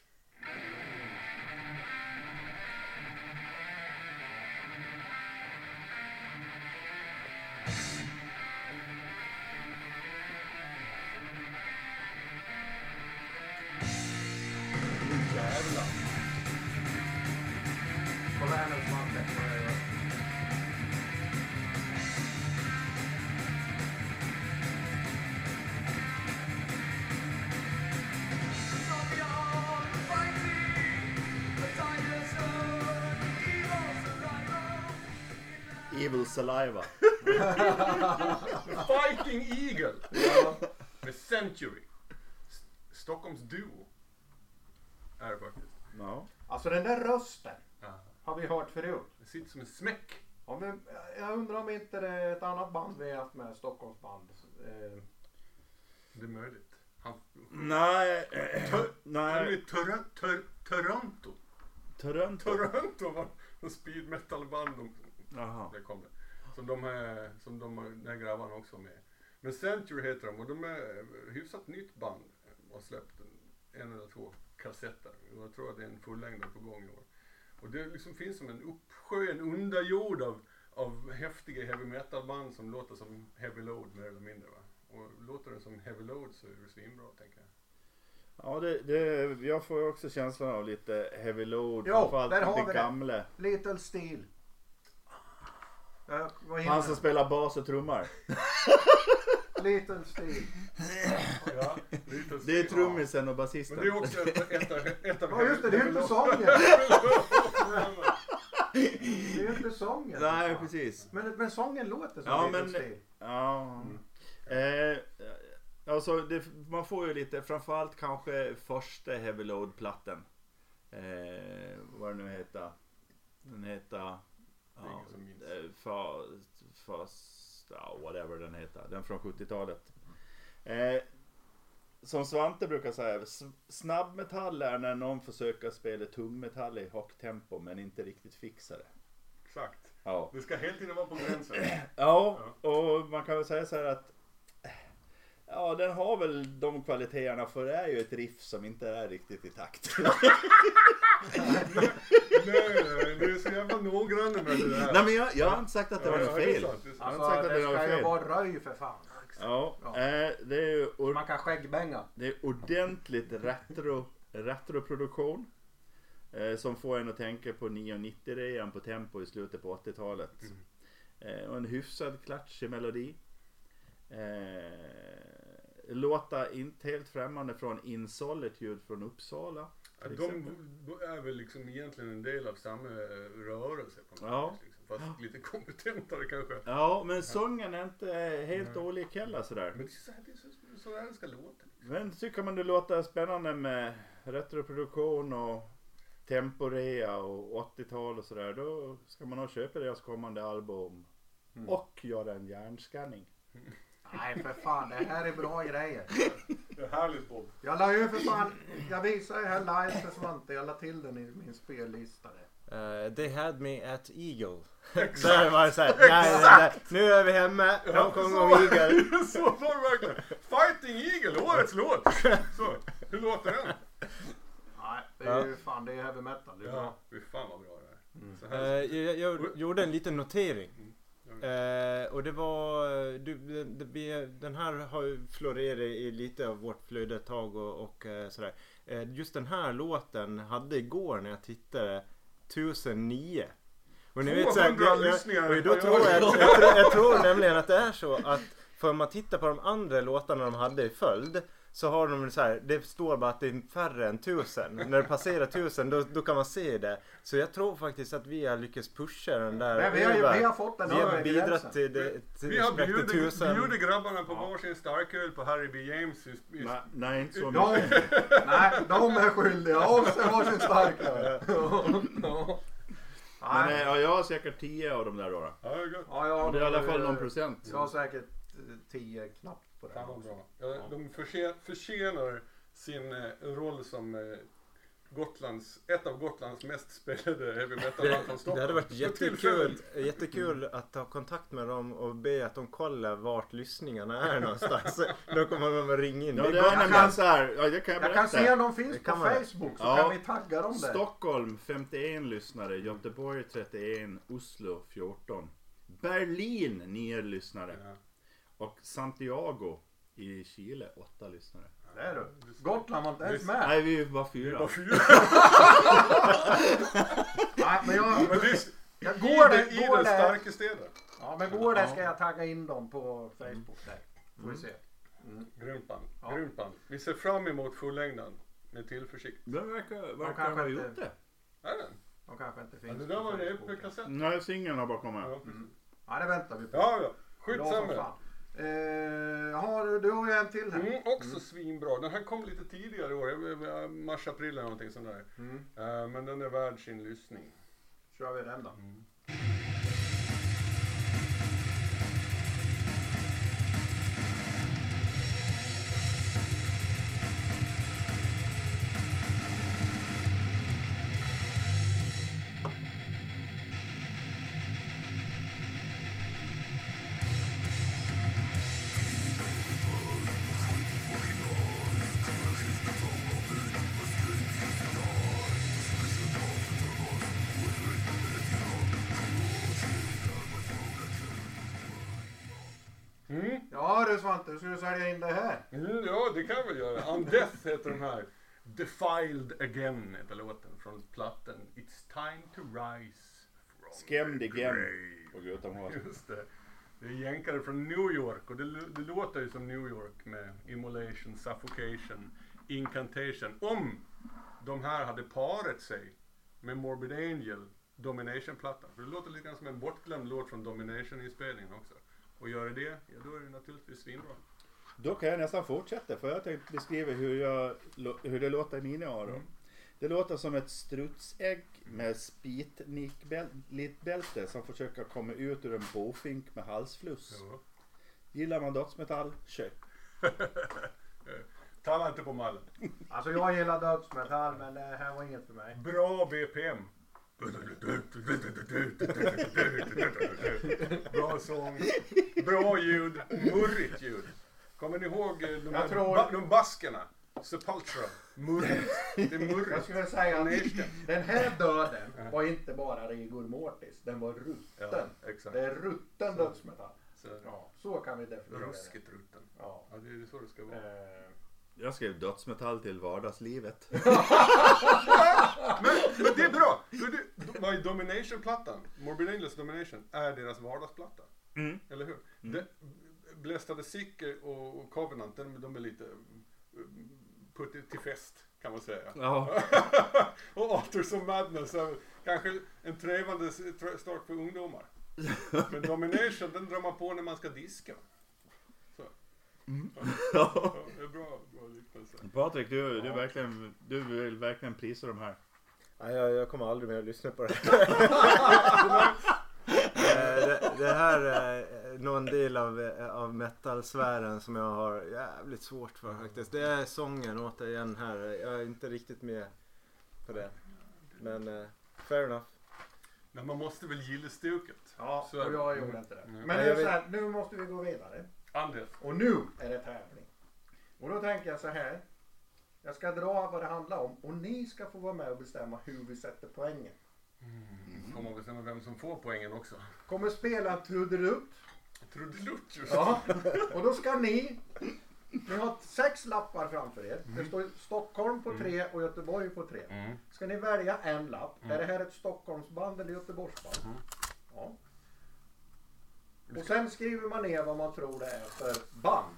[SPEAKER 1] Jävlar.
[SPEAKER 2] Kolla här nu Svante. vad jag gör.
[SPEAKER 5] Som jag fighting
[SPEAKER 3] Evil Saliva.
[SPEAKER 1] Fighting Eagle! Med Century. S- Stockholms Duo. Är det faktiskt.
[SPEAKER 3] Ja.
[SPEAKER 2] Alltså den där rösten
[SPEAKER 1] Ja.
[SPEAKER 2] har vi hört förut.
[SPEAKER 1] Det sitter som en smäck.
[SPEAKER 2] Ja, men eh, jag undrar om inte det är ett annat band vi har haft med, Stockholmsband. Eh,
[SPEAKER 1] Det är möjligt. Han,
[SPEAKER 3] Nej.
[SPEAKER 1] Tö- han är
[SPEAKER 3] Nej.
[SPEAKER 1] i Tör- Tör- Toronto.
[SPEAKER 3] Toronto.
[SPEAKER 1] Toronto var en speed metal band de,
[SPEAKER 3] Jaha.
[SPEAKER 1] det kom det. Som de här, som de här, den här grabbarna också var med Men Century heter de och de är eh, hyfsat nytt band. Och har släppt en, en eller två kassetter. Och jag tror att det är en fullängdare på gång i år. Och det liksom finns som en uppsjö, en underjord av, av häftiga heavy metal band som låter som heavy load mer eller mindre. Va? Och låter det som heavy load så är det svinbra tänker jag.
[SPEAKER 3] Ja, det, det, jag får ju också känslan av lite heavy load.
[SPEAKER 2] Jo,
[SPEAKER 3] framförallt
[SPEAKER 2] där har vi
[SPEAKER 3] det
[SPEAKER 2] det.
[SPEAKER 3] gamle.
[SPEAKER 2] Little Steel. Jag var inne.
[SPEAKER 3] Han som spelar bas och trummor.
[SPEAKER 2] Little Steel.
[SPEAKER 1] Ja, lite
[SPEAKER 3] Det är
[SPEAKER 1] så.
[SPEAKER 3] trummisen och
[SPEAKER 1] Men det är
[SPEAKER 3] basisten.
[SPEAKER 1] också ett, ett, av- ett av
[SPEAKER 2] Ja just det, det är ju inte sången. Det är ju inte sången.
[SPEAKER 3] Nej, precis.
[SPEAKER 2] Men, men sången låter som
[SPEAKER 3] Ja,
[SPEAKER 2] Little
[SPEAKER 3] men-
[SPEAKER 2] Steel.
[SPEAKER 3] Ja. Eh, alltså, det, man får ju lite, framförallt kanske första Heavy Load-platten. Eh, vad den nu heter. Den heter...
[SPEAKER 1] Det är ingen som minns.
[SPEAKER 3] Fast, fast, ja, whatever den heter. Den från 70-talet. Eh, som Svante brukar säga, s- snabbmetall är när någon försöker spela tungmetall i högt tempo men inte riktigt fixar det.
[SPEAKER 1] Exakt.
[SPEAKER 3] Ja.
[SPEAKER 1] Det ska hela tiden vara på gränsen.
[SPEAKER 3] Ja, och man kan väl säga så här att eh, Ja, den har väl de kvaliteterna för det är ju ett riff som inte är riktigt i takt.
[SPEAKER 1] Nej, nej, du är så jävla noggrann med det där.
[SPEAKER 3] Nej men jag, jag har inte sagt att det var
[SPEAKER 1] Ja,
[SPEAKER 3] något
[SPEAKER 1] ja, det är
[SPEAKER 3] fel.
[SPEAKER 1] sant, det är sant.
[SPEAKER 3] Jag har inte
[SPEAKER 2] Alltså
[SPEAKER 3] sagt att
[SPEAKER 2] det
[SPEAKER 3] det var
[SPEAKER 2] ska ju
[SPEAKER 3] fel.
[SPEAKER 2] vara röj för fan.
[SPEAKER 3] Ja,
[SPEAKER 2] Ja.
[SPEAKER 3] eh, det är ju or-
[SPEAKER 2] Man kan skäggbänga.
[SPEAKER 3] det är ordentligt retro, retroproduktion. Eh, som får en att tänka på 990 rean på Tempo i slutet på 80-talet. Eh, och en hyfsad klatschig melodi. Eh, låta inte helt främmande från Insolitude från Uppsala.
[SPEAKER 1] Ja,
[SPEAKER 3] till
[SPEAKER 1] De
[SPEAKER 3] exempel.
[SPEAKER 1] b- är väl liksom egentligen en del av samma eh, rörelse på något
[SPEAKER 3] Ja.
[SPEAKER 1] vis. Liksom. Fast lite kompetentare kanske.
[SPEAKER 3] Ja, men sången är inte helt olik heller sådär.
[SPEAKER 1] Men det är så här det är så, så här det ska låta.
[SPEAKER 3] Men tycker man det låter spännande med retroproduktion och temporea och 80-tal och sådär. Då ska man nog köpa deras kommande album
[SPEAKER 2] Mm.
[SPEAKER 3] och göra en hjärnskanning.
[SPEAKER 2] Nej för fan, det här är bra grejer.
[SPEAKER 1] Det är härligt Bob.
[SPEAKER 2] Jag la ju för fan, jag visade ju här live för Svante. Jag la till den i min spellista. där.
[SPEAKER 4] Eh, they had me at Eagle. Där var det såhär. Nej, nej, nej. Nu är vi hemma. De sjöng om Eagle.
[SPEAKER 1] så var det verkligen. Fighting Eagle, årets låt. Så, hur låter den?
[SPEAKER 2] Nej, det är ju fan, det är heavy metal. Det är bra.
[SPEAKER 1] Ja, fy fan vad bra det är.
[SPEAKER 3] Mm.
[SPEAKER 1] Så
[SPEAKER 4] Eh,
[SPEAKER 1] här,
[SPEAKER 4] jag, jag gjorde en liten notering.
[SPEAKER 1] Mm.
[SPEAKER 4] Eh, och det var, eh, du, det, det, vi- den här har ju florerat i lite av vårt flöde ett tag och, och eh, sådär. Eh, just den här låten hade igår när jag tittade 1009. Och ni vet, såhär,
[SPEAKER 1] 200
[SPEAKER 4] jag- jag-
[SPEAKER 1] lyssningar.
[SPEAKER 4] och då tror jag, jag, tror, jag tror nämligen att det är så att för om man tittar på de andra låtarna de hade i följd så har de så här, det står bara att det är färre än tusen. När det passerar tusen då, då kan man se det. Så jag tror faktiskt att vi har lyckats pusha den där
[SPEAKER 2] Men vi har, ju-
[SPEAKER 4] över.
[SPEAKER 2] vi har fått den
[SPEAKER 4] Vi har
[SPEAKER 2] över gränsen.
[SPEAKER 4] bidragit till det. Till
[SPEAKER 1] Vi har
[SPEAKER 4] spräckte
[SPEAKER 1] bjudit,
[SPEAKER 4] tusen.
[SPEAKER 1] bjudit grabbarna på varsin starköl på Harry B. James. i- i-
[SPEAKER 3] Nej, nej inte så mycket.
[SPEAKER 2] De, nej, de är skyldiga. Av sig varsin starkare. Ja.
[SPEAKER 3] Men eh,
[SPEAKER 2] Nej.
[SPEAKER 3] ja, jag har säkert 10 av de där då. då.
[SPEAKER 1] Ja, det är gott.
[SPEAKER 2] Ja, jag har
[SPEAKER 3] Det är i alla fall
[SPEAKER 2] nog,
[SPEAKER 3] någon
[SPEAKER 2] eh,
[SPEAKER 3] procent.
[SPEAKER 2] Jag har säkert eh, 10 knappt på det.
[SPEAKER 1] Fan vad bra. Ja, de förse- förtjänar sin eh, roll som eh, Gotlands, ett av Gotlands mest spelade heavy metal-band från
[SPEAKER 4] Det,
[SPEAKER 1] Stockholm.
[SPEAKER 4] det hade varit
[SPEAKER 1] För
[SPEAKER 4] jättekul,
[SPEAKER 1] tillfället.
[SPEAKER 4] jättekul att ta kontakt med dem och be att de kollar vart lyssningarna är någonstans. Då kommer de att ringa in.
[SPEAKER 3] Ja,
[SPEAKER 4] Det
[SPEAKER 3] det
[SPEAKER 4] går
[SPEAKER 3] är nämligen
[SPEAKER 2] kan-
[SPEAKER 3] så här. Ja, det kan jag
[SPEAKER 2] Jag kan
[SPEAKER 3] berätta.
[SPEAKER 2] se om de finns
[SPEAKER 4] Det
[SPEAKER 2] på
[SPEAKER 4] kan man.
[SPEAKER 2] Facebook så
[SPEAKER 3] Ja.
[SPEAKER 2] kan vi tagga dem där.
[SPEAKER 3] Stockholm 51 lyssnare, Göteborg 31, Oslo 14, Berlin 9 lyssnare
[SPEAKER 1] Ja.
[SPEAKER 3] och Santiago i Chile 8 lyssnare.
[SPEAKER 2] Där du. Gotland var inte ens
[SPEAKER 1] Visst.
[SPEAKER 2] med.
[SPEAKER 3] Nej, vi var fyra.
[SPEAKER 1] Vad fyra.
[SPEAKER 2] Nej,
[SPEAKER 1] Men
[SPEAKER 2] men jag,
[SPEAKER 1] det är-
[SPEAKER 2] jag
[SPEAKER 1] i den-
[SPEAKER 2] går där.
[SPEAKER 1] I
[SPEAKER 2] Går
[SPEAKER 1] den
[SPEAKER 2] där.
[SPEAKER 1] starka städer.
[SPEAKER 2] Ja, men går där ska jag tagga in dem på Facebook där. Får vi
[SPEAKER 1] Mm.
[SPEAKER 2] se.
[SPEAKER 1] Grymt band.
[SPEAKER 2] Ja.
[SPEAKER 1] Grymt band. Vi ser fram emot fullängden med tillförsikt.
[SPEAKER 3] Den verkar, verkar
[SPEAKER 2] kanske
[SPEAKER 3] ha
[SPEAKER 2] inte-
[SPEAKER 3] gjort det.
[SPEAKER 1] Är den?
[SPEAKER 2] De kanske inte
[SPEAKER 1] Ja,
[SPEAKER 2] finns
[SPEAKER 1] det Mm. där
[SPEAKER 2] på
[SPEAKER 1] var en
[SPEAKER 2] Facebook.
[SPEAKER 1] EP-kassett.
[SPEAKER 3] Nej, singeln har bara kommit.
[SPEAKER 1] Ja, precis.
[SPEAKER 2] Ja, det väntar vi på.
[SPEAKER 1] Ja, ja.
[SPEAKER 2] Bra som
[SPEAKER 1] Skitsamma.
[SPEAKER 2] fan. Eh, jaha, du, du har ju en till här.
[SPEAKER 1] Mm, också svinbra. Den här kom lite tidigare i år, jag- jag- mars-april eller någonting sånt där.
[SPEAKER 2] Mm.
[SPEAKER 1] Eh, Men den är värd sin lyssning.
[SPEAKER 2] kör vi den då.
[SPEAKER 1] Mm.
[SPEAKER 2] Ja du Svante, hur ska du sälja in det här?
[SPEAKER 1] Mm, ja, det kan jag väl göra. Undeath heter den här. Defiled Again heter låten från plattan It's time to rise from
[SPEAKER 3] Skrämd
[SPEAKER 1] the
[SPEAKER 3] igen.
[SPEAKER 1] grave.
[SPEAKER 3] Och gud, de har-
[SPEAKER 1] Just det. Det är jänkare från New York och det, l- det låter ju som New York med immolation, suffocation, incantation. Om de här hade parat sig med Morbid Angel, Domination-plattan. För det låter lite grann som en bortglömd låt från Domination-inspelningen också. Och gör det, ja då är det naturligtvis svinbra.
[SPEAKER 3] Då kan jag nästan fortsätta för jag tänkte beskriva hur, jag, lo- hur det låter i mina öron. Det låter som ett strutsägg med spitnickbälte som försöker komma ut ur en bofink med halsfluss.
[SPEAKER 1] Ja.
[SPEAKER 3] Gillar man dödsmetall, köp.
[SPEAKER 1] Talla inte på mallen.
[SPEAKER 2] Alltså jag gillar dödsmetall men det här var inget för mig.
[SPEAKER 1] Bra BPM. Bra sång. Bra ljud. Murrigt ljud. Kommer ni ihåg eh, de, här
[SPEAKER 2] Jag tror-
[SPEAKER 1] ba- de baskerna? Sepultura. Murrigt. Det är
[SPEAKER 2] Jag
[SPEAKER 1] murrigt.
[SPEAKER 2] skulle säga
[SPEAKER 1] Nation.
[SPEAKER 2] att den här döden var inte bara rigor mortis, den var rutten.
[SPEAKER 1] Ja, exakt.
[SPEAKER 2] Det är rutten dödsmetall.
[SPEAKER 1] Så,
[SPEAKER 2] Ja, så kan vi definiera det.
[SPEAKER 1] ruskigt rutten.
[SPEAKER 2] Ja.
[SPEAKER 1] Ja, det är så det ska vara.
[SPEAKER 2] Eh,
[SPEAKER 3] Jag skrev dödsmetall till vardagslivet.
[SPEAKER 1] Men, men det är bra! För det, vad är Domination-plattan, Morbid Angels Domination, är deras vardagsplatta.
[SPEAKER 3] Mm.
[SPEAKER 1] Eller hur? De, Blessed of the Sick och, och Covenant, de, de är lite eh, putt till fest kan man säga.
[SPEAKER 3] Ja.
[SPEAKER 1] och Arthurs of Madness, är kanske en trevande s- tr- start för ungdomar. Men Domination, den drar man på när man ska diska. Så. Ja, det är bra, bra liknelse.
[SPEAKER 3] Patrik, du, du, verkligen, du vill verkligen prisa de här.
[SPEAKER 4] Nej, jag, jag kommer aldrig mer att lyssna på det här. Eh, det, det här är någon del av, eh, av metalsfären som jag har jävligt svårt för faktiskt. Det är sången återigen här. Jag är inte riktigt med på det. Men eh, fair enough.
[SPEAKER 1] Men man måste väl gilla stuket.
[SPEAKER 2] Ja,
[SPEAKER 1] Så är
[SPEAKER 2] och
[SPEAKER 1] det.
[SPEAKER 2] jag gjorde inte det.
[SPEAKER 1] Mm.
[SPEAKER 2] Men
[SPEAKER 4] Nej,
[SPEAKER 2] det är
[SPEAKER 4] jag
[SPEAKER 2] så här, nu måste vi gå vidare.
[SPEAKER 1] Andres.
[SPEAKER 2] Och nu är det tävling. Och då tänker jag så här. Jag ska dra vad det handlar om och ni ska få vara med och bestämma hur vi sätter poängen.
[SPEAKER 3] Mm.
[SPEAKER 1] Får man bestämma vem som får poängen också.
[SPEAKER 2] Kommer spela en trudelutt.
[SPEAKER 1] Trudelutt just.
[SPEAKER 2] Ja. Och då ska ni. Ni har sex lappar framför er. Det står Stockholm på tre och Göteborg på tre.
[SPEAKER 1] Mm.
[SPEAKER 2] Ska ni välja en lapp? Är det här ett Stockholmsband eller Göteborgsband? Ja. Och sen skriver man ner vad man tror det är för band.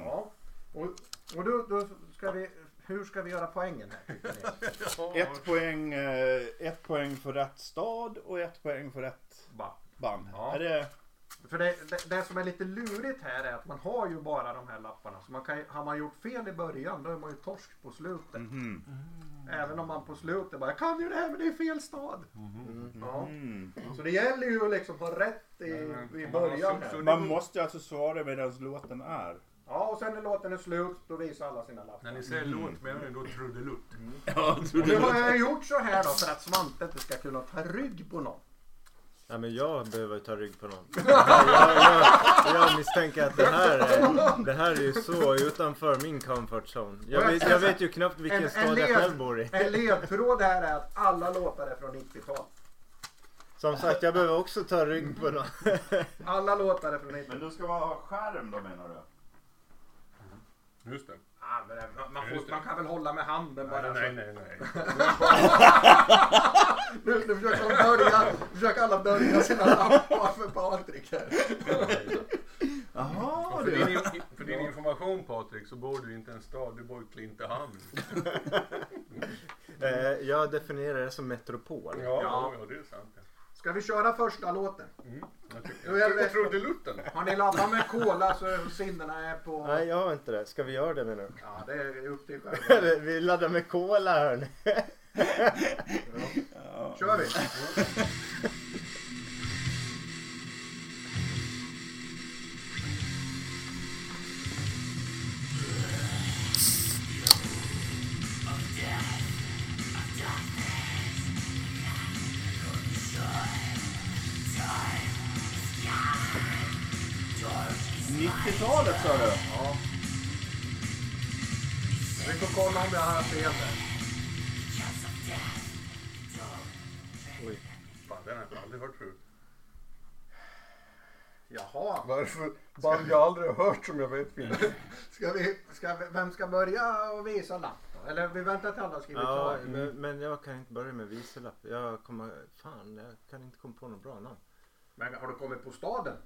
[SPEAKER 2] Ja. Och, och då, då ska vi, hur ska vi göra poängen här tycker ni?
[SPEAKER 3] Ett poäng, eh, ett poäng för rätt stad och ett poäng för rätt
[SPEAKER 2] Band.
[SPEAKER 3] band.
[SPEAKER 2] Ja.
[SPEAKER 3] Är det...
[SPEAKER 2] För det, det, det som är lite lurigt här är att man har ju bara de här lapparna. Så man kan, ju- har man gjort fel i början då är man ju torsk på slutet.
[SPEAKER 3] Mhm.
[SPEAKER 2] Även om man på slutet bara, jag kan ju det här men det är fel stad.
[SPEAKER 1] Mm-hmm.
[SPEAKER 2] Ja.
[SPEAKER 3] Mm.
[SPEAKER 2] Så det gäller ju att liksom ha rätt i,
[SPEAKER 1] Mm.
[SPEAKER 2] i
[SPEAKER 1] Om man har
[SPEAKER 2] början
[SPEAKER 1] så-
[SPEAKER 2] här.
[SPEAKER 1] så-
[SPEAKER 3] Man måste ju alltså svara medan låten är.
[SPEAKER 2] Ja, och sen när låten är slut, då visar alla sina lappar.
[SPEAKER 1] När ni säger låt menar ni då trudelutt?
[SPEAKER 3] Ja,
[SPEAKER 2] Och nu har jag gjort så här då för att Svante inte ska kunna ta rygg på någon.
[SPEAKER 4] Nej men jag behöver ta rygg på någon. Jag, jag, jag misstänker att det här, är, det här är ju så utanför min comfort zone. Jag vet, jag vet ju knappt vilken stad jag själv bor i.
[SPEAKER 2] en ledtråd här är att alla låtar är från 90-tal.
[SPEAKER 4] Som sagt, jag behöver också ta rygg på någon.
[SPEAKER 2] Alla låtar är från 90-tal.
[SPEAKER 3] Men du ska vara skärm då menar du?
[SPEAKER 1] Just det.
[SPEAKER 2] Ah, men det- man, man, får, man kan väl hålla med handen bara.
[SPEAKER 1] nej, Alltså, nej, nej.
[SPEAKER 2] Nu, nu försöker, de dölja, försöker alla dölja sina lappar för Patrik här.
[SPEAKER 3] Jaha
[SPEAKER 1] För din, för din information Patrik så bor du inte i en stad, du bor i Klintehamn.
[SPEAKER 4] Eh, jag definierar det som metropol.
[SPEAKER 1] Ja, ja, det är sant.
[SPEAKER 2] Ska vi köra första låten?
[SPEAKER 1] Mm, jag
[SPEAKER 2] Då är
[SPEAKER 1] tycker
[SPEAKER 2] det-
[SPEAKER 1] jag. Trudelutten.
[SPEAKER 2] Har ni laddat med cola så sinnena är på...
[SPEAKER 4] Nej, jag har inte det. Ska vi göra det menar du?
[SPEAKER 2] Ja, det är upp till er själva.
[SPEAKER 4] vi laddar med cola hörni.
[SPEAKER 2] Kör vi!
[SPEAKER 3] sa du?
[SPEAKER 2] Ja. Vi får kolla om jag har fel där.
[SPEAKER 1] Fan, den har jag aldrig hört förut.
[SPEAKER 2] Jaha.
[SPEAKER 6] Varför band jag aldrig hört som jag vet finns?
[SPEAKER 2] Ska vi, ska vi, vem ska börja och visa lappen? Eller vi väntar till alla har skrivit
[SPEAKER 4] Ja,
[SPEAKER 2] klart.
[SPEAKER 4] men, men jag kan inte börja med viselapp. Jag kommer... Fan, jag kan inte komma på något bra namn.
[SPEAKER 2] Men har du kommit på staden?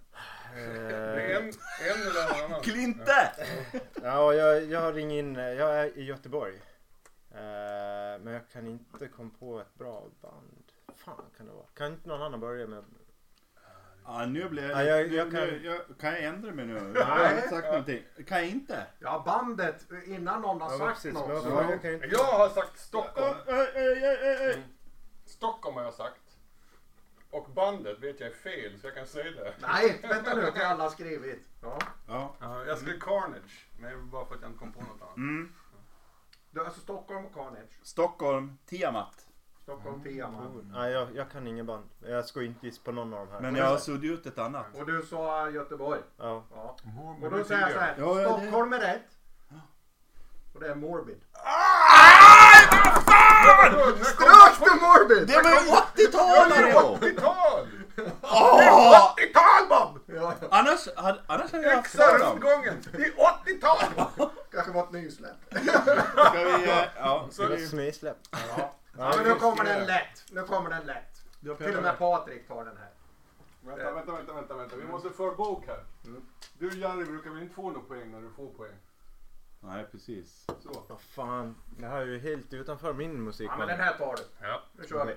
[SPEAKER 1] Det är
[SPEAKER 4] Eh,
[SPEAKER 1] en, en eller någon annan.
[SPEAKER 3] Klinte!
[SPEAKER 4] ja, jag, jag ringer in. eh, Jag är i Göteborg. Eh, men jag kan inte komma på ett bra band. Fan kan det vara. Kan inte någon annan börja med?
[SPEAKER 3] Ja, nu blir
[SPEAKER 4] Ja,
[SPEAKER 3] jag,
[SPEAKER 4] jag- jag
[SPEAKER 3] nu,
[SPEAKER 4] kan-
[SPEAKER 3] kan... Nu, jag, kan jag ändra mig nu? Jag har inte sagt någonting. Kan jag inte?
[SPEAKER 2] Ja, bandet innan någon har
[SPEAKER 4] Ja,
[SPEAKER 2] sagt
[SPEAKER 4] precis, men
[SPEAKER 2] något.
[SPEAKER 4] jag,
[SPEAKER 2] Så.
[SPEAKER 4] jag kan ju inte...
[SPEAKER 1] Jag har sagt Stockholm.
[SPEAKER 3] Ö, ö, ö, ö, ö.
[SPEAKER 1] Stockholm har jag sagt. Och bandet vet jag är fel, så jag kan säga det.
[SPEAKER 2] Nej, vänta nu till alla har skrivit. Ja.
[SPEAKER 3] Ja.
[SPEAKER 1] Ja, jag skrev Carnage, men det var bara för att jag inte kom på något annat.
[SPEAKER 3] Mm.
[SPEAKER 2] Du, alltså Stockholm och Carnage.
[SPEAKER 3] Stockholm, Tiamat.
[SPEAKER 2] Stockholm Tiaman.
[SPEAKER 4] Nej, jag, jag kan ingen band. Jag ska inte gissa på någon av de här.
[SPEAKER 3] Men jag har suddat ut ett annat.
[SPEAKER 2] Och du sa Göteborg.
[SPEAKER 4] Ja.
[SPEAKER 2] Ja. Och då säger jag så här.
[SPEAKER 3] Ja, ja, det-
[SPEAKER 2] Stockholm är rätt. Och det är Morbid. Strök du Morbid?
[SPEAKER 3] Det var ju 80-talare! då!
[SPEAKER 1] 80-tal!
[SPEAKER 3] Åh!
[SPEAKER 1] 80-tal Bob!
[SPEAKER 2] Ja,
[SPEAKER 3] Annars hade annars hade jag haft
[SPEAKER 1] Exa
[SPEAKER 3] dem.
[SPEAKER 1] rundgången! Det är 80-tal!
[SPEAKER 2] kanske var ett nysläpp.
[SPEAKER 3] Ska vi... eh, Ja,
[SPEAKER 4] Det var smysläpp.
[SPEAKER 2] Ja, men nu kommer den lätt. Nu kommer den lätt. Till och med Patrik tar den här.
[SPEAKER 1] Vänta, vänta, vänta, vänta, vänta. Vi måste föra bok här. Du Jerry brukar väl inte få någon poäng när du får poäng?
[SPEAKER 3] Nej, precis.
[SPEAKER 1] Så.
[SPEAKER 4] Vad fan. Det här är ju helt utanför min musik.
[SPEAKER 2] Ja, men den här tar du.
[SPEAKER 1] Ja.
[SPEAKER 2] Nu kör vi.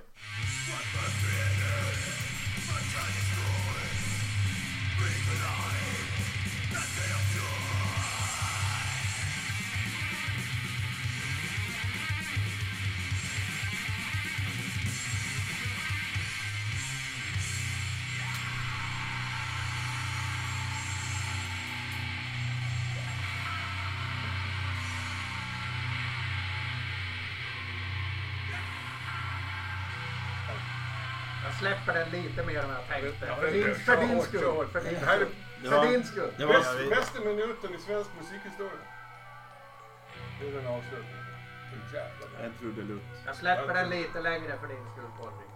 [SPEAKER 2] Jag släpper den lite mer än jag tänkte. För din, för din skull. För din skull.
[SPEAKER 3] Det
[SPEAKER 2] För
[SPEAKER 3] var,
[SPEAKER 2] din skull.
[SPEAKER 3] det var,
[SPEAKER 1] Bäst- Bästa minuten i svensk musikhistoria. Nu är den avslutningen. Fy jävla bra.
[SPEAKER 3] en trudelutt.
[SPEAKER 2] Jag släpper den lite längre för din skull Patrik.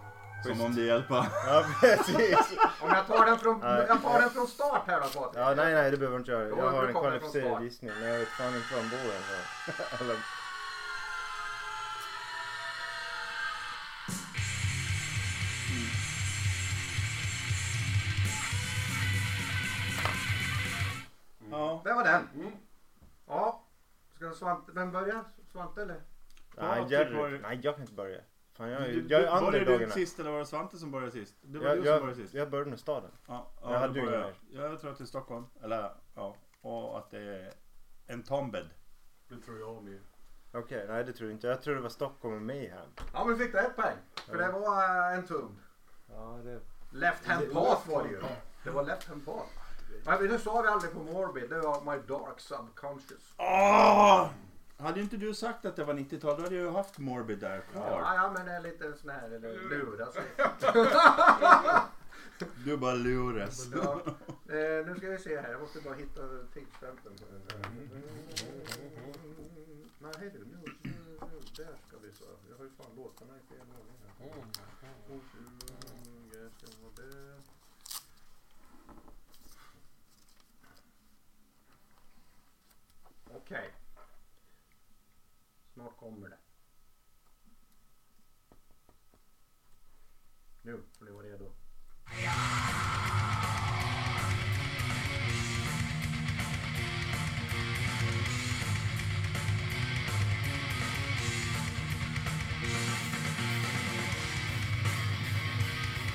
[SPEAKER 3] Som om det hjälper.
[SPEAKER 4] Ja, precis.
[SPEAKER 2] Om jag tar den från,
[SPEAKER 4] Nej.
[SPEAKER 2] jag tar den från start här då Patrik.
[SPEAKER 4] Ja, nej, nej, det behöver du inte göra.
[SPEAKER 2] Då
[SPEAKER 4] Jag har
[SPEAKER 2] kommer
[SPEAKER 4] en
[SPEAKER 2] det från
[SPEAKER 4] kvalificerad
[SPEAKER 2] start.
[SPEAKER 4] gissning. Men jag vet fan inte var de bor än. Eller...
[SPEAKER 3] Ja.
[SPEAKER 2] Det var den.
[SPEAKER 1] Mm.
[SPEAKER 2] Ja. Ska Svante, vem börjar? Svante eller?
[SPEAKER 4] Nej,
[SPEAKER 3] Ja, typ var
[SPEAKER 4] Jerry.
[SPEAKER 3] det-
[SPEAKER 4] Nej, jag kan inte börja. Fan, jag,
[SPEAKER 3] Du-
[SPEAKER 4] är-
[SPEAKER 3] du-
[SPEAKER 4] jag är
[SPEAKER 3] Var det
[SPEAKER 4] underdogen
[SPEAKER 3] du
[SPEAKER 4] här.
[SPEAKER 3] sist eller var det Svante som började sist? Det var
[SPEAKER 4] Jag,
[SPEAKER 3] du som
[SPEAKER 4] jag,
[SPEAKER 3] började sist.
[SPEAKER 4] jag började med staden.
[SPEAKER 3] Ja,
[SPEAKER 4] jag
[SPEAKER 3] ja,
[SPEAKER 4] hade
[SPEAKER 3] det
[SPEAKER 4] ju
[SPEAKER 3] var jag.
[SPEAKER 4] ingen
[SPEAKER 3] jag tror att det är Stockholm. Eller ja. Och att det är en tombed.
[SPEAKER 1] Det tror jag med.
[SPEAKER 4] Okej, nej det tror jag inte. Jag tror det var Stockholm och Mayhem.
[SPEAKER 2] Ja men vi fick det ett poäng. För det var eh, en tum.
[SPEAKER 4] Ja, det...
[SPEAKER 2] Left hand path var det ju. Det var left hand path. Men nu sa vi aldrig på Morbid. Det var My Dark Subconscious.
[SPEAKER 4] Ah!
[SPEAKER 3] Åh! Hade inte du sagt att det var 90-tal då hade jag ju haft Morbid där kvar.
[SPEAKER 2] Ja, ja men det är lite sån här eller lura sig.
[SPEAKER 3] Du bara luras.
[SPEAKER 2] Ja. Eh, nu ska vi se här, jag måste bara hitta tidsstämpeln. Nej du, nu, nu, nu, där ska vi så. Jag har ju fan låtarna i fel ordning här. Jag ska vara där. Okej. Snart kommer det. Nu får ni vara redo.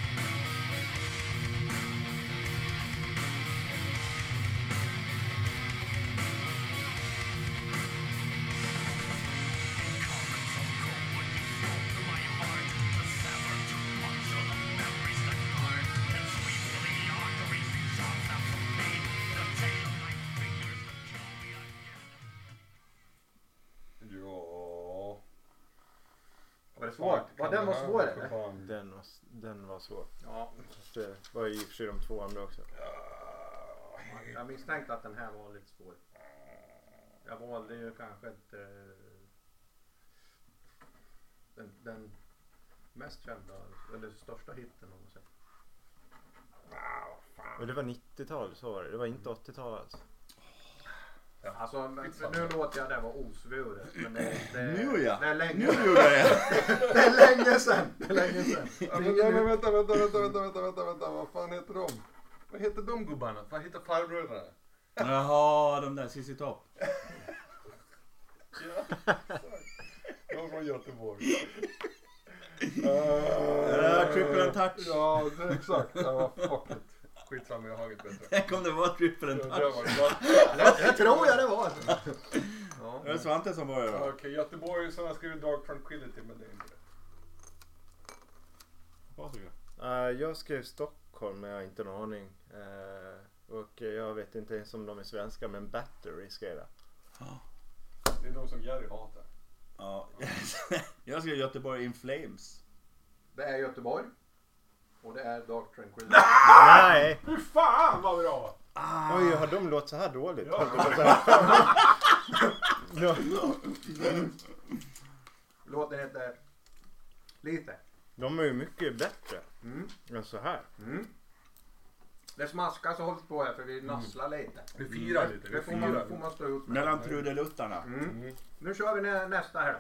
[SPEAKER 5] Thank
[SPEAKER 2] svår.
[SPEAKER 1] Kan
[SPEAKER 2] Ja, den var
[SPEAKER 1] det här
[SPEAKER 2] svår
[SPEAKER 1] vara för
[SPEAKER 2] eller?
[SPEAKER 1] fan?
[SPEAKER 4] Den var, den var svår.
[SPEAKER 2] Ja,
[SPEAKER 4] Fast Det var ju i och för sig de två andra också.
[SPEAKER 2] jag misstänkte att den här var lite svår. Jag valde ju kanske inte eh, den, den mest kända, eller största hitten om man säger.
[SPEAKER 4] Men det var 90-tal, så var det. Det var inte 80-tal alls.
[SPEAKER 2] Alltså, men, men nu låter jag det vara osvuret. Men det, det,
[SPEAKER 3] Nu ja!
[SPEAKER 2] det är länge
[SPEAKER 3] Nu
[SPEAKER 2] sedan.
[SPEAKER 3] gjorde jag det!
[SPEAKER 2] Det är länge sedan. Det är länge sedan.
[SPEAKER 6] Ja, men, nej, men vänta, vänta, vänta, vänta, vänta, vänta, vänta, vad fan heter de?
[SPEAKER 1] Vad heter de gubbarna? Vad heter farbröderna?
[SPEAKER 3] Jaha, de där ZZ Top.
[SPEAKER 6] De var från Göteborg. uh,
[SPEAKER 3] Uh, triple and touch.
[SPEAKER 6] Ja, det, exakt. Ja, fuck it. Skitsamma, jag har inget bättre.
[SPEAKER 3] Tänk om det var typ triple
[SPEAKER 6] Det
[SPEAKER 3] and
[SPEAKER 6] där var
[SPEAKER 3] touch.
[SPEAKER 6] det.
[SPEAKER 2] Det tror jag det var.
[SPEAKER 6] Ja.
[SPEAKER 3] Det är Svante som börjar
[SPEAKER 6] Okej,
[SPEAKER 3] då.
[SPEAKER 6] Göteborg som har skrivit Dark Tranquility, men det är inte rätt.
[SPEAKER 3] Varsågod.
[SPEAKER 4] Eh, jag skrev Stockholm, men jag har inte en aning. Eh, och jag vet inte ens om de är svenska, men Battery skrev jag.
[SPEAKER 6] Det är de som Jerry hatar.
[SPEAKER 3] Ja. Jag skrev Göteborg in Flames.
[SPEAKER 2] Det är Göteborg. Och det är Dark Tranquil.
[SPEAKER 4] Nej!
[SPEAKER 6] Fy fan vad bra!
[SPEAKER 4] Oj, har de låtit så här dåligt?
[SPEAKER 6] Ja.
[SPEAKER 4] Har de låtit så här? Ja.
[SPEAKER 2] Låten heter Lite.
[SPEAKER 4] De är ju mycket bättre
[SPEAKER 2] Mm.
[SPEAKER 4] än så här.
[SPEAKER 2] Det smaskas och hålls på här för vi nasslar lite.
[SPEAKER 3] Mm.
[SPEAKER 1] Vi firar lite.
[SPEAKER 2] Det
[SPEAKER 1] Vi
[SPEAKER 2] får man,
[SPEAKER 1] firar.
[SPEAKER 2] får man stå ut med.
[SPEAKER 3] Mellan trudeluttarna.
[SPEAKER 2] Mm. Nu kör vi nä- nästa här då.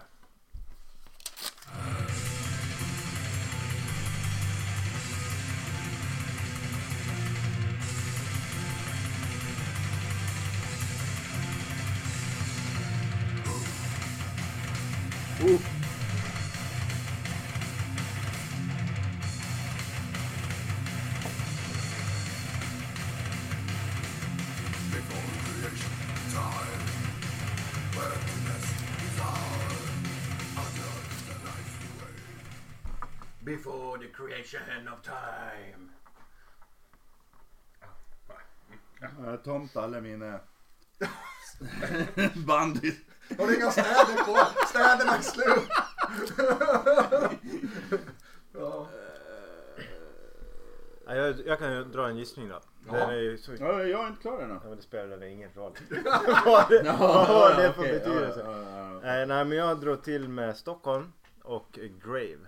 [SPEAKER 2] Before the creation of time.
[SPEAKER 3] Jag har tomt Eh, alla mina bandy.
[SPEAKER 2] Har du inga städer på? Städerna är slut. ja.
[SPEAKER 4] Ja, Jag, jag kan ju dra en gissning då. Den är ju så... Ja,
[SPEAKER 3] Ja, jag är inte klar ännu.
[SPEAKER 4] men det spelar väl ingen roll. Vad det- vad det för
[SPEAKER 3] okej, ja,
[SPEAKER 4] betydelse.
[SPEAKER 3] ja, ja, ja.
[SPEAKER 4] Eh, nej, men jag drog till med Stockholm och Grave.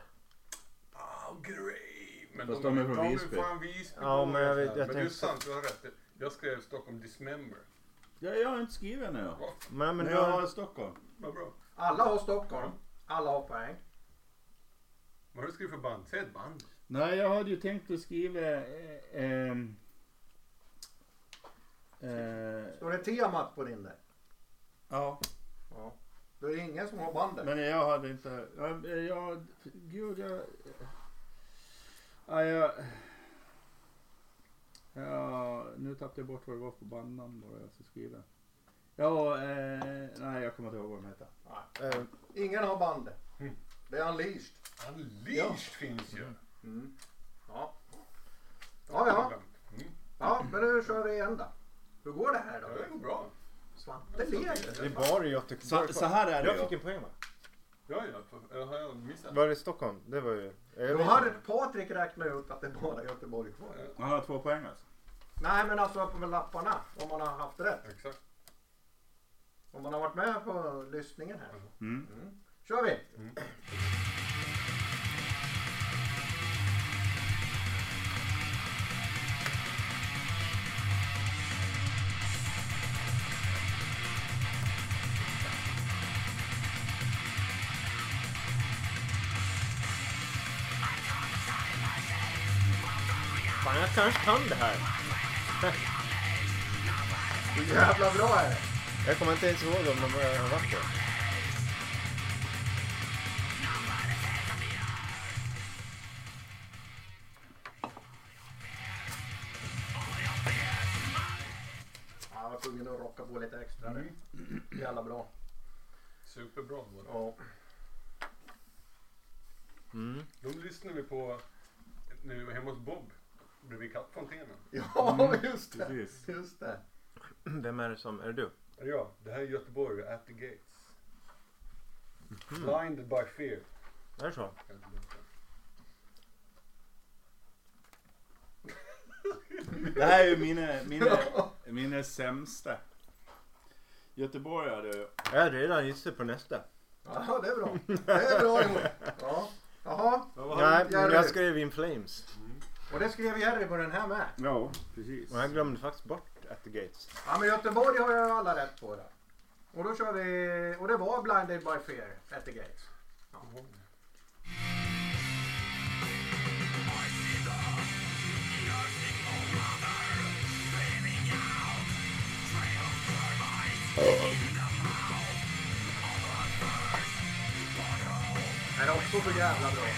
[SPEAKER 1] Oh, grej. Men
[SPEAKER 3] Fast de är från Visby.
[SPEAKER 1] De är fan Visby.
[SPEAKER 4] Ja, men jag vet- jag
[SPEAKER 1] men det är
[SPEAKER 4] tänkte-
[SPEAKER 1] sant, du har rätt. Jag skrev Stockholm Dismember.
[SPEAKER 3] Ja, jag har inte skrivit ännu.
[SPEAKER 4] Men, men
[SPEAKER 3] Men
[SPEAKER 4] du
[SPEAKER 3] jag
[SPEAKER 4] har...
[SPEAKER 3] har Stockholm.
[SPEAKER 1] Vad bra.
[SPEAKER 2] Alla har Stockholm. Alla har poäng.
[SPEAKER 1] Vad har du skrivit för band? Säg ett band.
[SPEAKER 3] Nej, jag hade ju tänkt att skriva... Eh, ehm, eh,
[SPEAKER 2] Står det temat på din där?
[SPEAKER 3] ja,
[SPEAKER 2] Ja. Då är det ingen som har bandet.
[SPEAKER 3] men jag hade inte... Jag, jag, gud, jag... Ja, jag... Ja, nu tappade jag bort vad det var för bandnamn vad jag skulle skriva. Ja, eh, nej jag kommer inte ihåg vad de heter.
[SPEAKER 4] Eh,
[SPEAKER 2] Ingen har bandet. Det är unleashed.
[SPEAKER 1] Unleashed finns
[SPEAKER 3] Mm.
[SPEAKER 1] ju.
[SPEAKER 2] Ja. Ja, ja.
[SPEAKER 1] Mm.
[SPEAKER 2] Ja, men nu kör vi igen då. Hur går det här
[SPEAKER 1] Ja,
[SPEAKER 2] då?
[SPEAKER 1] det går bra.
[SPEAKER 2] Svante leder.
[SPEAKER 4] det var i Göteborg.
[SPEAKER 3] Så, så här är det
[SPEAKER 4] Jag
[SPEAKER 3] ju.
[SPEAKER 4] fick en poäng va?
[SPEAKER 1] Ja, ja. Eller har jag missat?
[SPEAKER 4] Var det Stockholm? Det var ju... jag
[SPEAKER 2] Då
[SPEAKER 4] vet
[SPEAKER 2] har
[SPEAKER 4] inte.
[SPEAKER 2] Patrik räknat ut att det är bara Göteborg kvar.
[SPEAKER 3] Han har två poäng alltså.
[SPEAKER 2] Nej, men alltså på lapparna. Om man har haft rätt.
[SPEAKER 1] Exakt.
[SPEAKER 2] Om man har varit med på lyssningen här.
[SPEAKER 3] Mm.
[SPEAKER 2] Kör vi!
[SPEAKER 4] Fan, jag kanske kan det här.
[SPEAKER 2] Hur jävla bra är det?
[SPEAKER 4] Jag kommer inte ens ihåg om de har varit där.
[SPEAKER 2] Ja, jag var tvungen att rocka på lite extra
[SPEAKER 1] Mm.
[SPEAKER 2] nu. Jävla bra.
[SPEAKER 1] Superbra. båda.
[SPEAKER 2] Ja.
[SPEAKER 4] Mm.
[SPEAKER 1] De lyssnar vi på när vi var hemma hos Bob. Bredvid kattfontänen.
[SPEAKER 2] Ja, just det.
[SPEAKER 3] Precis.
[SPEAKER 2] Just det.
[SPEAKER 4] Vem är det som... Är det du?
[SPEAKER 1] Är det jag? Det här är Göteborg, At the Gates. Blinded by fear.
[SPEAKER 4] Är det så?
[SPEAKER 3] Det här är ju mina, mina, mina sämsta. Göteborgare.
[SPEAKER 4] Jag är redan gissat på nästa.
[SPEAKER 2] Ja, det är bra. Det är bra Emil. Ja. Jaha,
[SPEAKER 4] Nej, men
[SPEAKER 2] Jerry.
[SPEAKER 4] jag skrev In Flames.
[SPEAKER 2] och det skrev Jerry på den här med.
[SPEAKER 3] Ja, precis.
[SPEAKER 4] Och jag glömde faktiskt bort At the Gates.
[SPEAKER 2] Ja, men Göteborg har ju alla rätt på det. Och då kör vi, och det var Blinded by Fear, at the gates. Det är också så jävla bra.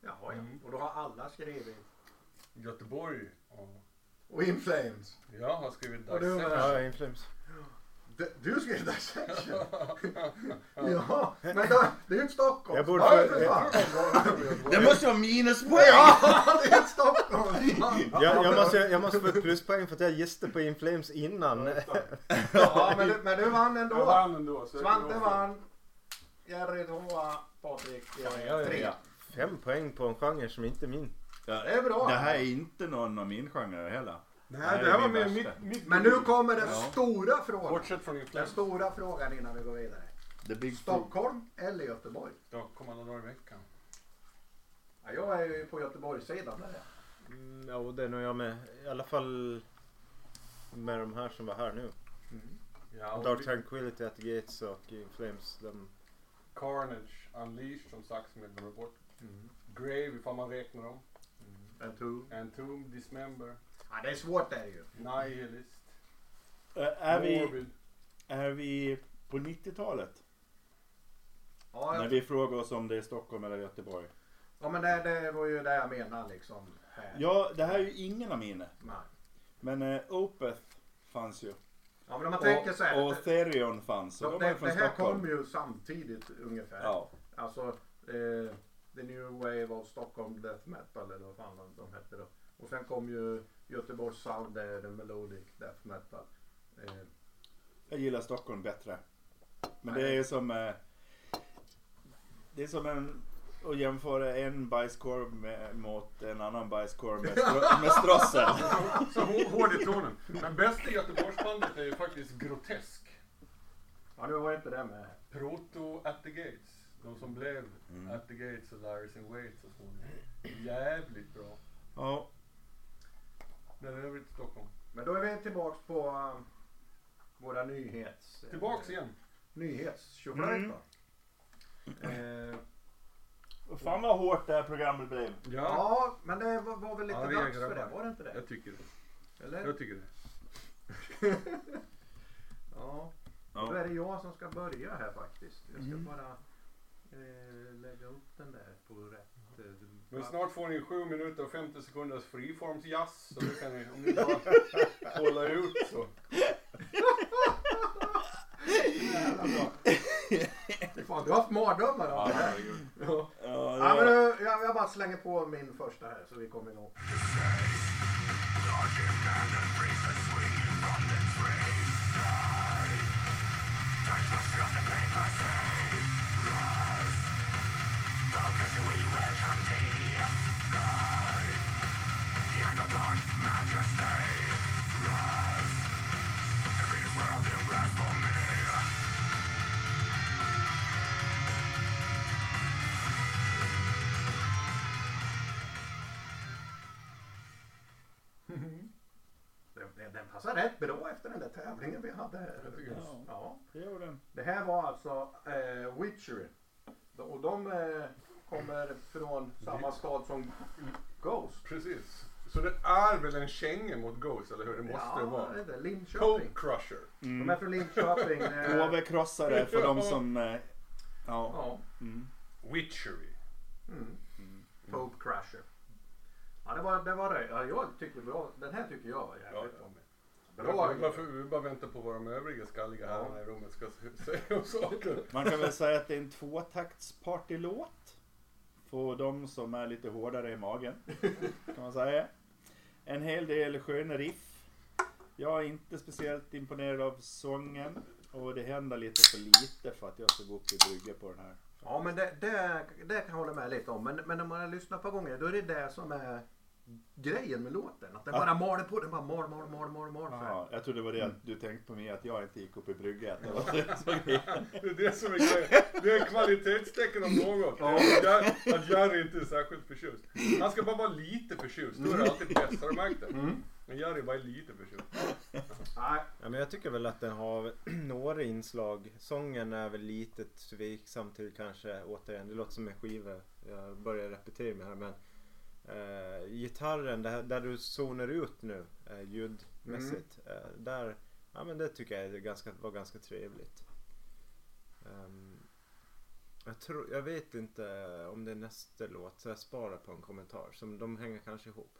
[SPEAKER 2] Jaha, ja. Och då har alla skrivit.
[SPEAKER 1] Göteborg. Ja.
[SPEAKER 2] Och In Flames.
[SPEAKER 1] Jag har skrivit
[SPEAKER 2] Och du
[SPEAKER 1] Dissection.
[SPEAKER 2] med.
[SPEAKER 4] Ja, In Flames.
[SPEAKER 2] D- Du skrev Dissection? ja, men då, det är ju ett Stockholm.
[SPEAKER 4] Jag borde-
[SPEAKER 2] ja, för fan.
[SPEAKER 3] Det måste vara minuspoäng!
[SPEAKER 2] ja, det är ett Stockholm.
[SPEAKER 4] Jag, jag, måste, jag måste få ett pluspoäng för att jag gissade på In Flames innan.
[SPEAKER 2] Ja, men, du, men du vann
[SPEAKER 1] Jag
[SPEAKER 2] ändå.
[SPEAKER 1] vann ändå. så jag
[SPEAKER 2] Svante
[SPEAKER 1] kan-
[SPEAKER 2] vann. Jerry tvåa. Patrik eh,
[SPEAKER 4] ja,
[SPEAKER 2] trea.
[SPEAKER 4] ja. Fem poäng på en genre som inte är min.
[SPEAKER 2] Det är bra.
[SPEAKER 3] Det här är inte någon av min genre heller.
[SPEAKER 1] Nej, det här var
[SPEAKER 3] min
[SPEAKER 1] mer
[SPEAKER 3] värsta.
[SPEAKER 1] mitt, mitt...
[SPEAKER 2] Men nu kommer den
[SPEAKER 3] Ja.
[SPEAKER 2] stora frågan.
[SPEAKER 1] Bortsett från
[SPEAKER 2] Den
[SPEAKER 1] influensa.
[SPEAKER 2] stora frågan innan vi går vidare.
[SPEAKER 3] The Big Four.
[SPEAKER 2] Stockholm eller Göteborg?
[SPEAKER 1] Då kommer alla dagar i veckan.
[SPEAKER 2] Ja, jag är ju på Göteborgssidan där. ja.
[SPEAKER 4] Mm, Ja, och det är nog jag med. I alla fall med de här som var här nu.
[SPEAKER 3] Mm.
[SPEAKER 1] Ja, och
[SPEAKER 4] Dark
[SPEAKER 1] vi-
[SPEAKER 4] Tranquility, At the Gates och In Flames. De,
[SPEAKER 1] Carnage, Unleashed som sagt som jag glömmer bort.
[SPEAKER 3] Mm.
[SPEAKER 1] Grave ifall man räknar dem.
[SPEAKER 2] En tur.
[SPEAKER 1] Entombed, Dismember,
[SPEAKER 2] Ja, det är svårt det är det ju.
[SPEAKER 1] Nihilist,
[SPEAKER 3] Eh, Är vi,
[SPEAKER 1] Morbid.
[SPEAKER 3] är vi på 90-talet?
[SPEAKER 2] Ja,
[SPEAKER 3] När
[SPEAKER 2] jag,
[SPEAKER 3] vi frågar oss om det är Stockholm eller Göteborg.
[SPEAKER 2] ja men det, det var ju det jag menade liksom. Här.
[SPEAKER 3] Ja, det här är ju ingen av mina.
[SPEAKER 2] Nej.
[SPEAKER 3] Men eh, Opeth fanns ju.
[SPEAKER 2] Ja, men om man tänker så här.
[SPEAKER 3] Och, och Therion fanns. Så
[SPEAKER 2] det,
[SPEAKER 3] de är
[SPEAKER 2] det,
[SPEAKER 3] från
[SPEAKER 2] det här
[SPEAKER 3] Stockholm.
[SPEAKER 2] kom ju samtidigt ungefär.
[SPEAKER 3] Ja.
[SPEAKER 2] Alltså eh, The New Wave of Stockholm Death Metal eller vad fan de- de hette då. Och sen kom ju Göteborgs Sound, eh, The Melodic Death Metal. Eh,
[SPEAKER 3] Jag gillar Stockholm bättre. Men det är ju som... eh, Det är som en... Att jämföra en bajskorv med, mot en annan bajskorv med, stro, med strossel.
[SPEAKER 1] Så hå- hård i tonen. Men bästa Göteborgsbandet är ju faktiskt Grotesk.
[SPEAKER 2] ja, nu var inte det med.
[SPEAKER 1] Proto At The Gates. De som blev At The Gates och Liars in Waits så småningom. Jävligt bra.
[SPEAKER 3] Ja.
[SPEAKER 1] Men i övrigt Stockholm.
[SPEAKER 2] Men då är vi tillbaks på eh, våra nyhets... eh,
[SPEAKER 1] Tillbaks igen.
[SPEAKER 2] Nyhetstjoflöjt
[SPEAKER 3] Mm.
[SPEAKER 2] va? Eh,
[SPEAKER 3] Och Fan vad hårt det här programmet blev.
[SPEAKER 1] Ja,
[SPEAKER 2] ja, men det var, var väl lite
[SPEAKER 1] Ja, vi är
[SPEAKER 2] dags för
[SPEAKER 1] grabbar.
[SPEAKER 2] det? Var det inte det?
[SPEAKER 1] jag tycker det.
[SPEAKER 2] Eller?
[SPEAKER 1] Jag tycker det.
[SPEAKER 2] Ja. Då
[SPEAKER 3] Ja.
[SPEAKER 2] är det jag som ska börja här faktiskt. Jag ska
[SPEAKER 3] Mm.
[SPEAKER 2] bara eh, lägga upp den där på rätt... Eh,
[SPEAKER 1] Men
[SPEAKER 2] plats.
[SPEAKER 1] snart får ni 7 minuter och 50 sekunders freeforms-jazz. Så då kan ni, om ni bara håller ut så.
[SPEAKER 2] Jävla bra. Fan, du har haft mardrömmar av det här. Ja.
[SPEAKER 3] Ja,
[SPEAKER 2] Ja, men,
[SPEAKER 3] det-
[SPEAKER 2] eh, jag, jag bara slänger på min första här så vi kommer igång. Den, den, den passar rätt bra efter den där tävlingen vi hade här.
[SPEAKER 3] jag.
[SPEAKER 2] Ja.
[SPEAKER 3] det gör den.
[SPEAKER 2] Det här var alltså eh, Witcher. Och de eh, kommer från samma stad som Ghost.
[SPEAKER 1] Precis. Så det är väl en känga mot Ghost, eller hur? Det måste det
[SPEAKER 2] det
[SPEAKER 1] vara.
[SPEAKER 2] är det.
[SPEAKER 1] Coke
[SPEAKER 2] Linköping.
[SPEAKER 1] Crusher.
[SPEAKER 2] De är från Linköping.
[SPEAKER 3] Mm.
[SPEAKER 2] Eh,
[SPEAKER 3] Gåvekrossare för de som... eh, Ja.
[SPEAKER 2] ja.
[SPEAKER 3] Mm.
[SPEAKER 1] Witchery.
[SPEAKER 2] Mm. Pope Crusher. Ja, det var, det var det. Ja, jag tycker bra. Den här tycker jag var
[SPEAKER 1] Ja,
[SPEAKER 2] jävligt bra.
[SPEAKER 1] ja.
[SPEAKER 2] Bra.
[SPEAKER 1] Vi bara, för, vi bara väntar på vad de övriga skalliga herrarna i rummet ska s- säga om saken.
[SPEAKER 3] Man kan väl säga att det är en tvåtaktspartylåt. För de som är lite hårdare i magen. Kan man säga. En hel del sköna riff. Jag är inte speciellt imponerad av sången. Och det händer lite för lite för att jag ska gå upp i brygga på den här.
[SPEAKER 2] Ja men det, det, det kan jag hålla med lite om. Men, men när man har lyssnat på gånger då är det det som är grejen med låten. Att den
[SPEAKER 3] Ja.
[SPEAKER 2] bara maler på. Den bara mal, mal, mal, mal, mal.
[SPEAKER 3] Jaha, jag trodde det var det att du tänkte på mig att jag inte gick upp i brygga. Att det var det som var grejen.
[SPEAKER 1] Det är det som är grejen. Det är kvalitetstecken om något. Att Jar- Att Jerry inte är särskilt förtjust. Han ska bara vara lite förtjust. Då är
[SPEAKER 4] Mm.
[SPEAKER 1] det alltid bäst. Har du märkt det? Men Jerry bara är lite förtjust.
[SPEAKER 2] Nej,
[SPEAKER 4] Ja, men jag tycker väl att den har några inslag. Sången är väl lite tveksam till kanske återigen. Det låter som en skiva. Jag börjar repetera mig här men. Eh, gitarren, det här, där du zonar ut nu eh, ljudmässigt.
[SPEAKER 1] Mm.
[SPEAKER 4] Eh, där, ja men det tycker jag är ganska, var ganska trevligt. Ehm, jag, tror, jag vet inte om det är nästa låt så jag sparar på en kommentar. Som de hänger kanske ihop.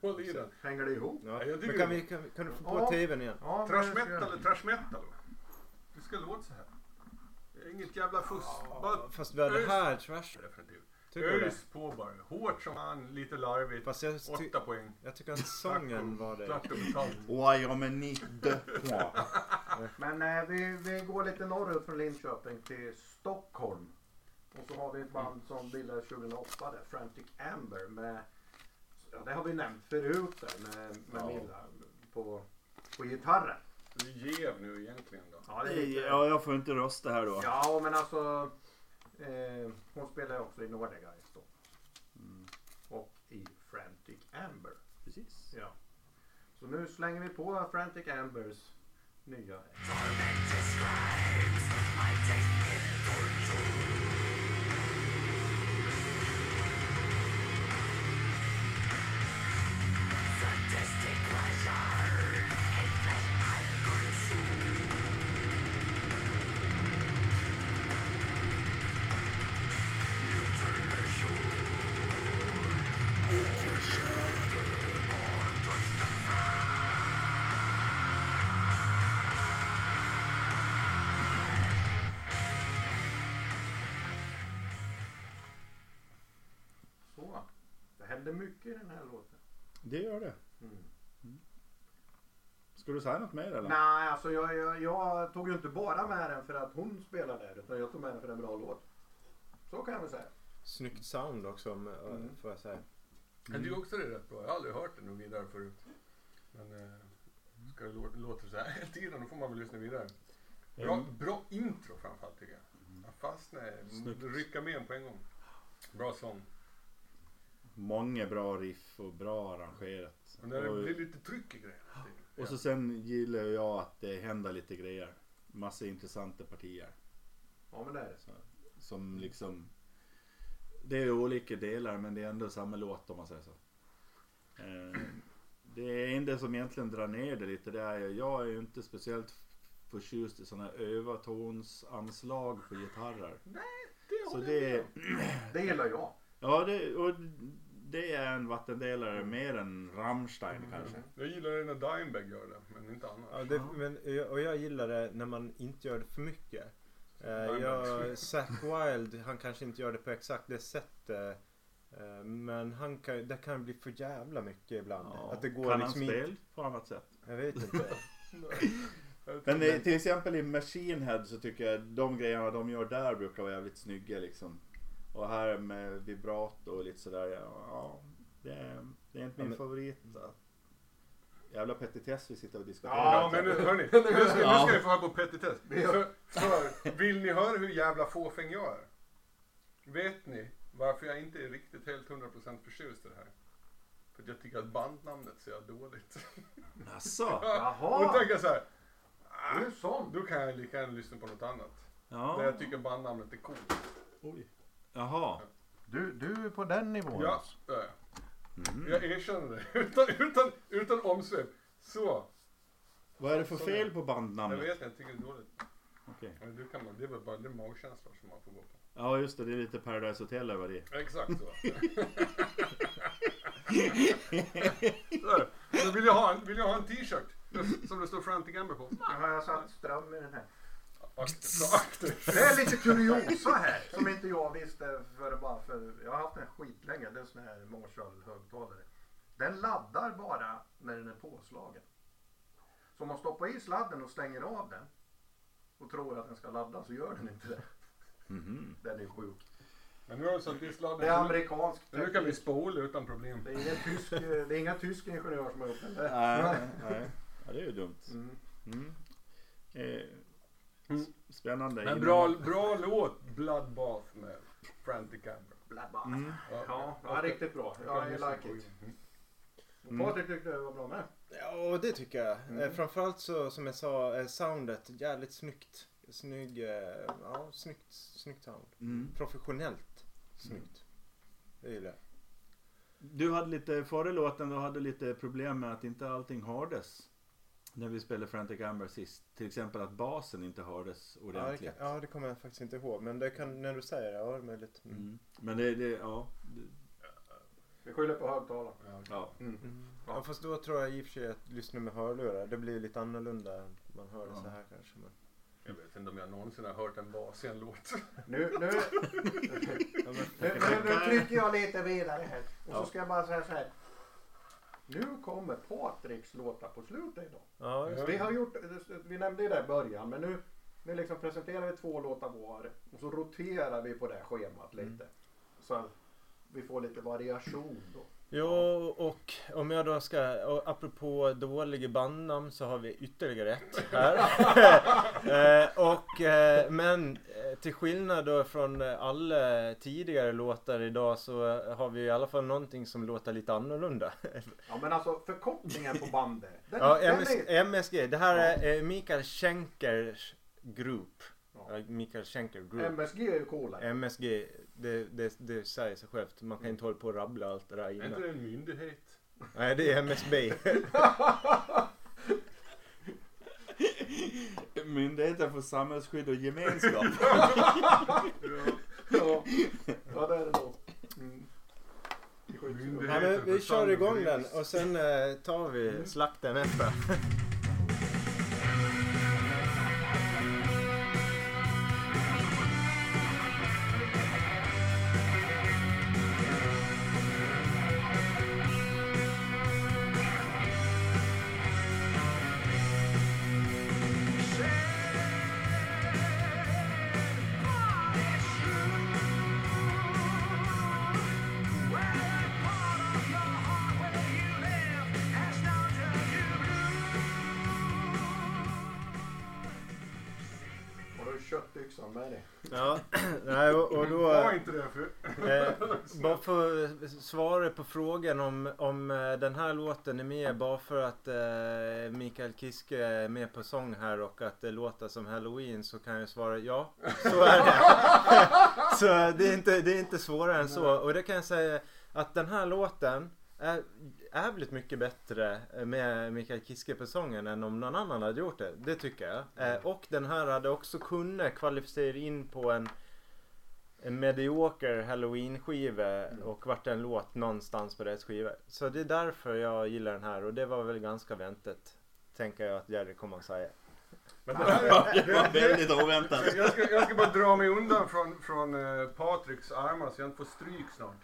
[SPEAKER 1] Håll i den.
[SPEAKER 2] hänger det ihop?
[SPEAKER 4] Ja.
[SPEAKER 1] jag
[SPEAKER 4] Men
[SPEAKER 1] tycker
[SPEAKER 4] kan,
[SPEAKER 1] det.
[SPEAKER 4] vi, kan, vi- kan du få på
[SPEAKER 2] Ja.
[SPEAKER 4] tvn igen?
[SPEAKER 2] Ja, men
[SPEAKER 1] Trash
[SPEAKER 2] jag ska-
[SPEAKER 1] metal är trash metal. Det ska låta så här. Inget jävla fuss. Bara
[SPEAKER 4] Fast det här trash.
[SPEAKER 1] definitivt.
[SPEAKER 4] Tycker du det?
[SPEAKER 1] Ös på bara. Hårt som fan, lite larvigt.
[SPEAKER 4] Fast jag, ty-
[SPEAKER 1] Åtta poäng.
[SPEAKER 4] jag tycker att sången var det.
[SPEAKER 1] Klart och betalt.
[SPEAKER 3] Oj, ja men ni dö på.
[SPEAKER 2] Men eh, vi, vi går lite norrut från Linköping till Stockholm. Och så har vi ett band som bildades 2008 där, Frantic Amber med, ja, det har vi nämnt förut där med, med
[SPEAKER 3] Ja.
[SPEAKER 2] Milla på, på gitarren.
[SPEAKER 1] Du är jäv nu egentligen då.
[SPEAKER 2] Ja, det är lite, ja.
[SPEAKER 3] Ja, jag får inte rösta här då.
[SPEAKER 2] men alltså eh, hon spelar ju också i Nordegeist då.
[SPEAKER 3] Mm.
[SPEAKER 2] Och i Frantic Amber.
[SPEAKER 3] Precis.
[SPEAKER 2] Ja. Så nu slänger vi på Frantic Ambers nya. Så. Det händer mycket i den här låten.
[SPEAKER 3] Det gör det.
[SPEAKER 2] Mm.
[SPEAKER 3] Ska du säga något mer eller?
[SPEAKER 2] Nej, alltså jag, jag, jag tog ju inte bara med den för att hon spelar där utan jag tog med den för en bra låt. Så kan jag väl säga.
[SPEAKER 4] Snyggt sound också om, eh,
[SPEAKER 2] Mm.
[SPEAKER 4] får jag säga.
[SPEAKER 1] Men
[SPEAKER 3] Mm.
[SPEAKER 1] du också är rätt bra. Jag har aldrig hört den och vidare förut. Men eh, ska det lå- låter så här hela tiden, då får man väl lyssna vidare. Bra,
[SPEAKER 3] Mm.
[SPEAKER 1] bra intro framförallt tycker jag. Jag fastnade,
[SPEAKER 3] Snyggt.
[SPEAKER 1] rycka med en på en gång. Bra sång.
[SPEAKER 3] Många bra riff och bra arrangerat.
[SPEAKER 1] Men när det
[SPEAKER 3] Och-
[SPEAKER 1] blir lite tryck i grejen. hela tiden.
[SPEAKER 3] Och så sen gillar jag att det händer lite grejer. Massa intressanta partier.
[SPEAKER 2] Ja, men det är det.
[SPEAKER 3] Som liksom... Det är olika delar men det är ändå samma låt om man säger så. Eh, Det enda som egentligen drar ner det lite det är ju, jag är ju inte speciellt förtjust i sådana här övertonsanslag på gitarrer.
[SPEAKER 1] det
[SPEAKER 3] Så
[SPEAKER 1] håller
[SPEAKER 3] det
[SPEAKER 1] jag
[SPEAKER 3] är,
[SPEAKER 1] med
[SPEAKER 2] Det gillar jag.
[SPEAKER 3] ja det, och det är en vattendelare mer än Rammstein kanske.
[SPEAKER 1] om. Jag gillar det när Dimebag gör det, men inte annars.
[SPEAKER 4] Ja, det, men, jag- och jag gillar det när man inte gör det för mycket. Eh,
[SPEAKER 1] Nej, men-
[SPEAKER 4] jag, Zack Wilde, han kanske inte gör det på exakt det sättet. eh, Men han kan, det kan bli för jävla mycket ibland.
[SPEAKER 3] Ja,
[SPEAKER 4] Att det går
[SPEAKER 3] kan
[SPEAKER 4] liksom
[SPEAKER 3] han
[SPEAKER 4] inte.
[SPEAKER 3] spel på annat sätt?
[SPEAKER 4] Jag vet inte.
[SPEAKER 3] Men eh, till exempel i Machine Head så tycker jag de grejerna de gör där brukar vara jävligt snygga liksom. Och här med vibrato och lite sådär, ja, ja det, är, det är inte
[SPEAKER 4] Ja,
[SPEAKER 3] min
[SPEAKER 4] men-
[SPEAKER 3] favorit. då. Jävla petitess vi sitter och diskuterar.
[SPEAKER 1] Ja, men nu, hörni. Nu ska, nu
[SPEAKER 3] Ja.
[SPEAKER 1] ska ni få höra på petitess. För, för, vill ni höra hur jävla fåfäng jag är? Vet ni varför jag inte är riktigt helt 100% förtjust i det här? För att jag tycker att bandnamnet ser jag dåligt.
[SPEAKER 3] Alltså,
[SPEAKER 2] Jaha.
[SPEAKER 1] Och tänker jag så här,
[SPEAKER 2] Du är sån.
[SPEAKER 1] då kan jag lika gärna lyssna på något annat. Där
[SPEAKER 3] ja.
[SPEAKER 1] jag tycker bandnamnet är coolt.
[SPEAKER 3] Oj. Jaha.
[SPEAKER 2] Du, du är på den nivån. alltså.
[SPEAKER 1] Ja, det är jag. Jag erkänner det. Utan, utan, utan omsvep. Så,
[SPEAKER 3] Vad är det för
[SPEAKER 1] Så
[SPEAKER 3] fel
[SPEAKER 1] det-
[SPEAKER 3] på
[SPEAKER 1] jag
[SPEAKER 3] bandnamnet?
[SPEAKER 1] vet, jag tycker det är dåligt.
[SPEAKER 3] Okej.
[SPEAKER 1] Men du kan man, det är väl bara det är magkänslan som man får gå på.
[SPEAKER 3] Ja just det, det är lite Paradise Hotel över det.
[SPEAKER 1] Exakt så. Där. Nu vill jag ha en, vill jag ha en t-shirt som det står Frantic Amber på.
[SPEAKER 2] Nu har jag satt ström i den här.
[SPEAKER 1] Akt, så akt.
[SPEAKER 2] Det är lite kuriosa här som inte jag visste för bara för... Jag har haft den skitlänge. Det är en sån här Marshall-högtalare. Den laddar bara när den är påslagen. Så om man stoppar i sladden och stänger av den och tror att den ska ladda så gör den inte det.
[SPEAKER 3] Mhm.
[SPEAKER 2] Den är sjuk.
[SPEAKER 1] Men nu har du satt i
[SPEAKER 2] Det är
[SPEAKER 1] sladden.
[SPEAKER 2] amerikansk
[SPEAKER 1] Nu kan vi spola utan problem.
[SPEAKER 2] Det är, ingen tysk, det är inga tysk ingenjör som har gjort den där.
[SPEAKER 3] Nej, nej. Ja, det är ju dumt.
[SPEAKER 2] Mm.
[SPEAKER 3] Mm. Eh,
[SPEAKER 1] Mm.
[SPEAKER 3] s- Spännande.
[SPEAKER 1] Men
[SPEAKER 3] innehåll.
[SPEAKER 1] bra, bra låt, Bloodbath med Frantic Amber.
[SPEAKER 2] Bla, bla.
[SPEAKER 3] Mm.
[SPEAKER 2] Ja, ja, riktigt bra. Ja, I like it.
[SPEAKER 1] Mm.
[SPEAKER 2] Och Patrik tyckte det var bra med.
[SPEAKER 4] Ja, och det tycker jag. Eh, Framförallt så, som jag sa, eh, soundet jävligt snyggt. Snygg, eh, ja, snyggt, snyggt sound.
[SPEAKER 3] Mm.
[SPEAKER 4] Professionellt snyggt. Det gillar jag.
[SPEAKER 3] Du hade lite, före låten, du hade lite problem med att inte allting hördes. När vi spelade Frantic Amber sist. Till exempel att basen inte hördes
[SPEAKER 4] Ja, det
[SPEAKER 3] ordentligt.
[SPEAKER 4] kan, ja, det kommer jag faktiskt inte ihåg. Men det kan, när du säger det, ja, det är möjligt. Mm.
[SPEAKER 3] Mm. Men det, det ja. det-
[SPEAKER 2] Vi skyller på högtalaren.
[SPEAKER 3] ja.
[SPEAKER 4] Ja, fast då tror jag i och för sig att lyssna med hörlurar, det blir lite annorlunda. än Man hör det
[SPEAKER 3] Ja.
[SPEAKER 4] så här kanske. Men...
[SPEAKER 1] Jag vet inte om jag någonsin har hört en bas i en låt.
[SPEAKER 2] Nu, nu, nu, nu, nu trycker jag lite vidare här. Och så ska jag bara säga så här. Nu kommer Patriks låtar på slutet idag.
[SPEAKER 4] Ja, just det.
[SPEAKER 2] Vi, har gjort, vi nämnde ju det i början men nu, nu liksom presenterar vi två låtar var och så roterar vi på det här schemat
[SPEAKER 4] Mm.
[SPEAKER 2] lite. Så att vi får lite variation då.
[SPEAKER 4] Jo, och om jag då ska, och apropå dåliga bandnamn så har vi ytterligare ett här. eh, och, eh, men eh, till skillnad då från eh, alla tidigare låtar idag så eh, har vi i alla fall någonting som låter lite annorlunda.
[SPEAKER 2] Ja men alltså förkortningen på bandet. Den,
[SPEAKER 4] ja,
[SPEAKER 2] den
[SPEAKER 4] MS,
[SPEAKER 2] är,
[SPEAKER 4] MSG, det här är eh, Mikael Schenkers Group.
[SPEAKER 2] Ja.
[SPEAKER 4] Ja. Mikael Schenker Group.
[SPEAKER 2] MSG är ju coolare.
[SPEAKER 4] MSG, det, det, det säger sig självt. Man kan inte hålla på och rabbla allt det där
[SPEAKER 1] Är inte
[SPEAKER 4] innan.
[SPEAKER 1] det en myndighet?
[SPEAKER 4] Nej, det är MSB.
[SPEAKER 3] Myndigheten för samhällsskydd och gemenskap.
[SPEAKER 2] ja. ja det är det nog. Mm.
[SPEAKER 1] Myndighet.
[SPEAKER 4] Ja, men vi kör igång den och sen eh, tar vi slakten efter.
[SPEAKER 2] Har du köttyxan med dig?
[SPEAKER 4] Ja, nej, och, och då...
[SPEAKER 1] Var inte det för...
[SPEAKER 4] Eh, bara för att svara på frågan om, om eh, den här låten är med bara för att eh, Mikael Kiske är med på sång här och att det låter som Halloween så kan jag svara ja, så är det. så det är, inte, det är inte svårare än så. Och det kan jag säga att den här låten är jävligt mycket bättre med Mikael Kiske på sången än om någon annan hade gjort det. Det tycker jag. Eh, och den här hade också kunnat kvalificera in på en en medioker halloween-skiva och vart en låt någonstans på deras skiva. Så det är därför jag gillar den här och det var väl ganska väntat. Tänker jag att Jerry kommer att säga.
[SPEAKER 1] Men det här,
[SPEAKER 3] det var väldigt oväntat.
[SPEAKER 1] jag, ska, jag ska bara dra mig undan från, från eh, Patriks armar så jag inte får stryk snart.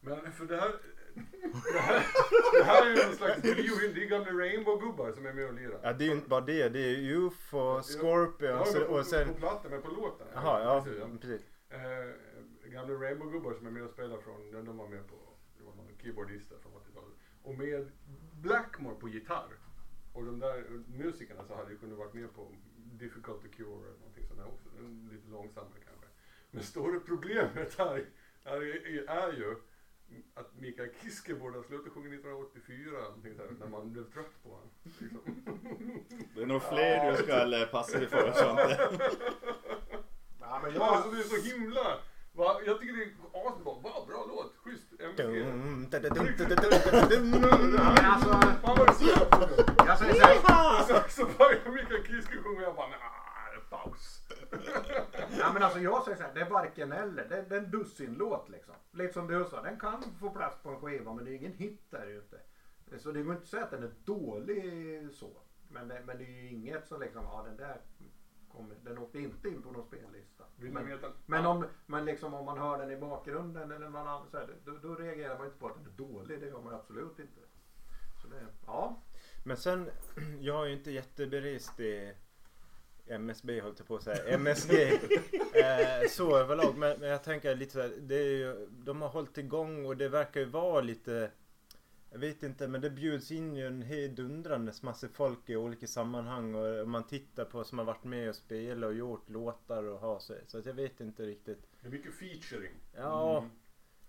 [SPEAKER 1] Men för det här... Det här, det här är ju någon slags biohyll. Det är gamla Rainbow-gubbar som är med och lirar.
[SPEAKER 4] Ja det är ju inte bara det, det är ju UFO,
[SPEAKER 1] Ja,
[SPEAKER 4] Scorpions
[SPEAKER 1] men på,
[SPEAKER 4] och sen...
[SPEAKER 1] på plattan, men på låten.
[SPEAKER 4] Jaha, ja
[SPEAKER 1] Precis, ja.
[SPEAKER 4] precis.
[SPEAKER 1] Eh, gamla Rainbow-gubbar som är med och spelar från, de de var med på, det var någon keyboardist där från 80-talet. Och med Blackmore på gitarr. Och de där eh, musikerna så hade ju kunnat varit med på Difficult to Cure eller någonting sånt där också. En Lite långsammare kanske. Men stora problemet här, här är, är ju att Mikael Kiske borde ha slutat sjunga 1984 eller någonting så här, när man blev trött på honom. Liksom.
[SPEAKER 3] Det är nog fler du ska eller passa dig för sånt.
[SPEAKER 2] Ja, men
[SPEAKER 1] Ja,
[SPEAKER 2] jag,
[SPEAKER 1] alltså det är så himla... Va? Jag tycker det är asbra. Va, bra låt. Schysst. MSG.
[SPEAKER 4] Dum, da, da, dum, da, da, da, da, dum.
[SPEAKER 2] men alltså,
[SPEAKER 1] Fan vad du ser på den.
[SPEAKER 2] jag säger så här.
[SPEAKER 1] Alltså, Så- Så börjar Mikael Kiske sjunga och jag bara nej. här, paus.
[SPEAKER 2] Ja, men alltså jag säger så här, det är varken eller. Det, det är en dussinlåt liksom. Lite som du sa, den kan få plats på en skiva men det är ingen hit där ju inte. Så det går inte att säga att den är dålig så. Men det, men det är ju inget som liksom, ja den där kommer, den åkte inte in på någon spellista.
[SPEAKER 1] Vill ni
[SPEAKER 2] men,
[SPEAKER 1] veta?
[SPEAKER 2] men, om, men liksom om man hör den i bakgrunden eller någon annan så här, då, då reagerar man inte på att den är dålig. Det gör man absolut inte. Så det, ja.
[SPEAKER 4] Men sen, jag är ju inte jätteberist i MSB höll jag på att säga, MSG. eh, så överlag, men, men jag tänker lite så här, det är ju, de har hållit igång och det verkar ju vara lite, jag vet inte, men det bjuds in ju en hejdundrandes massa folk i olika sammanhang och om man tittar på som har varit med och spelat och gjort låtar och har så, så att jag vet inte riktigt.
[SPEAKER 1] Det är mycket featuring.
[SPEAKER 4] Ja,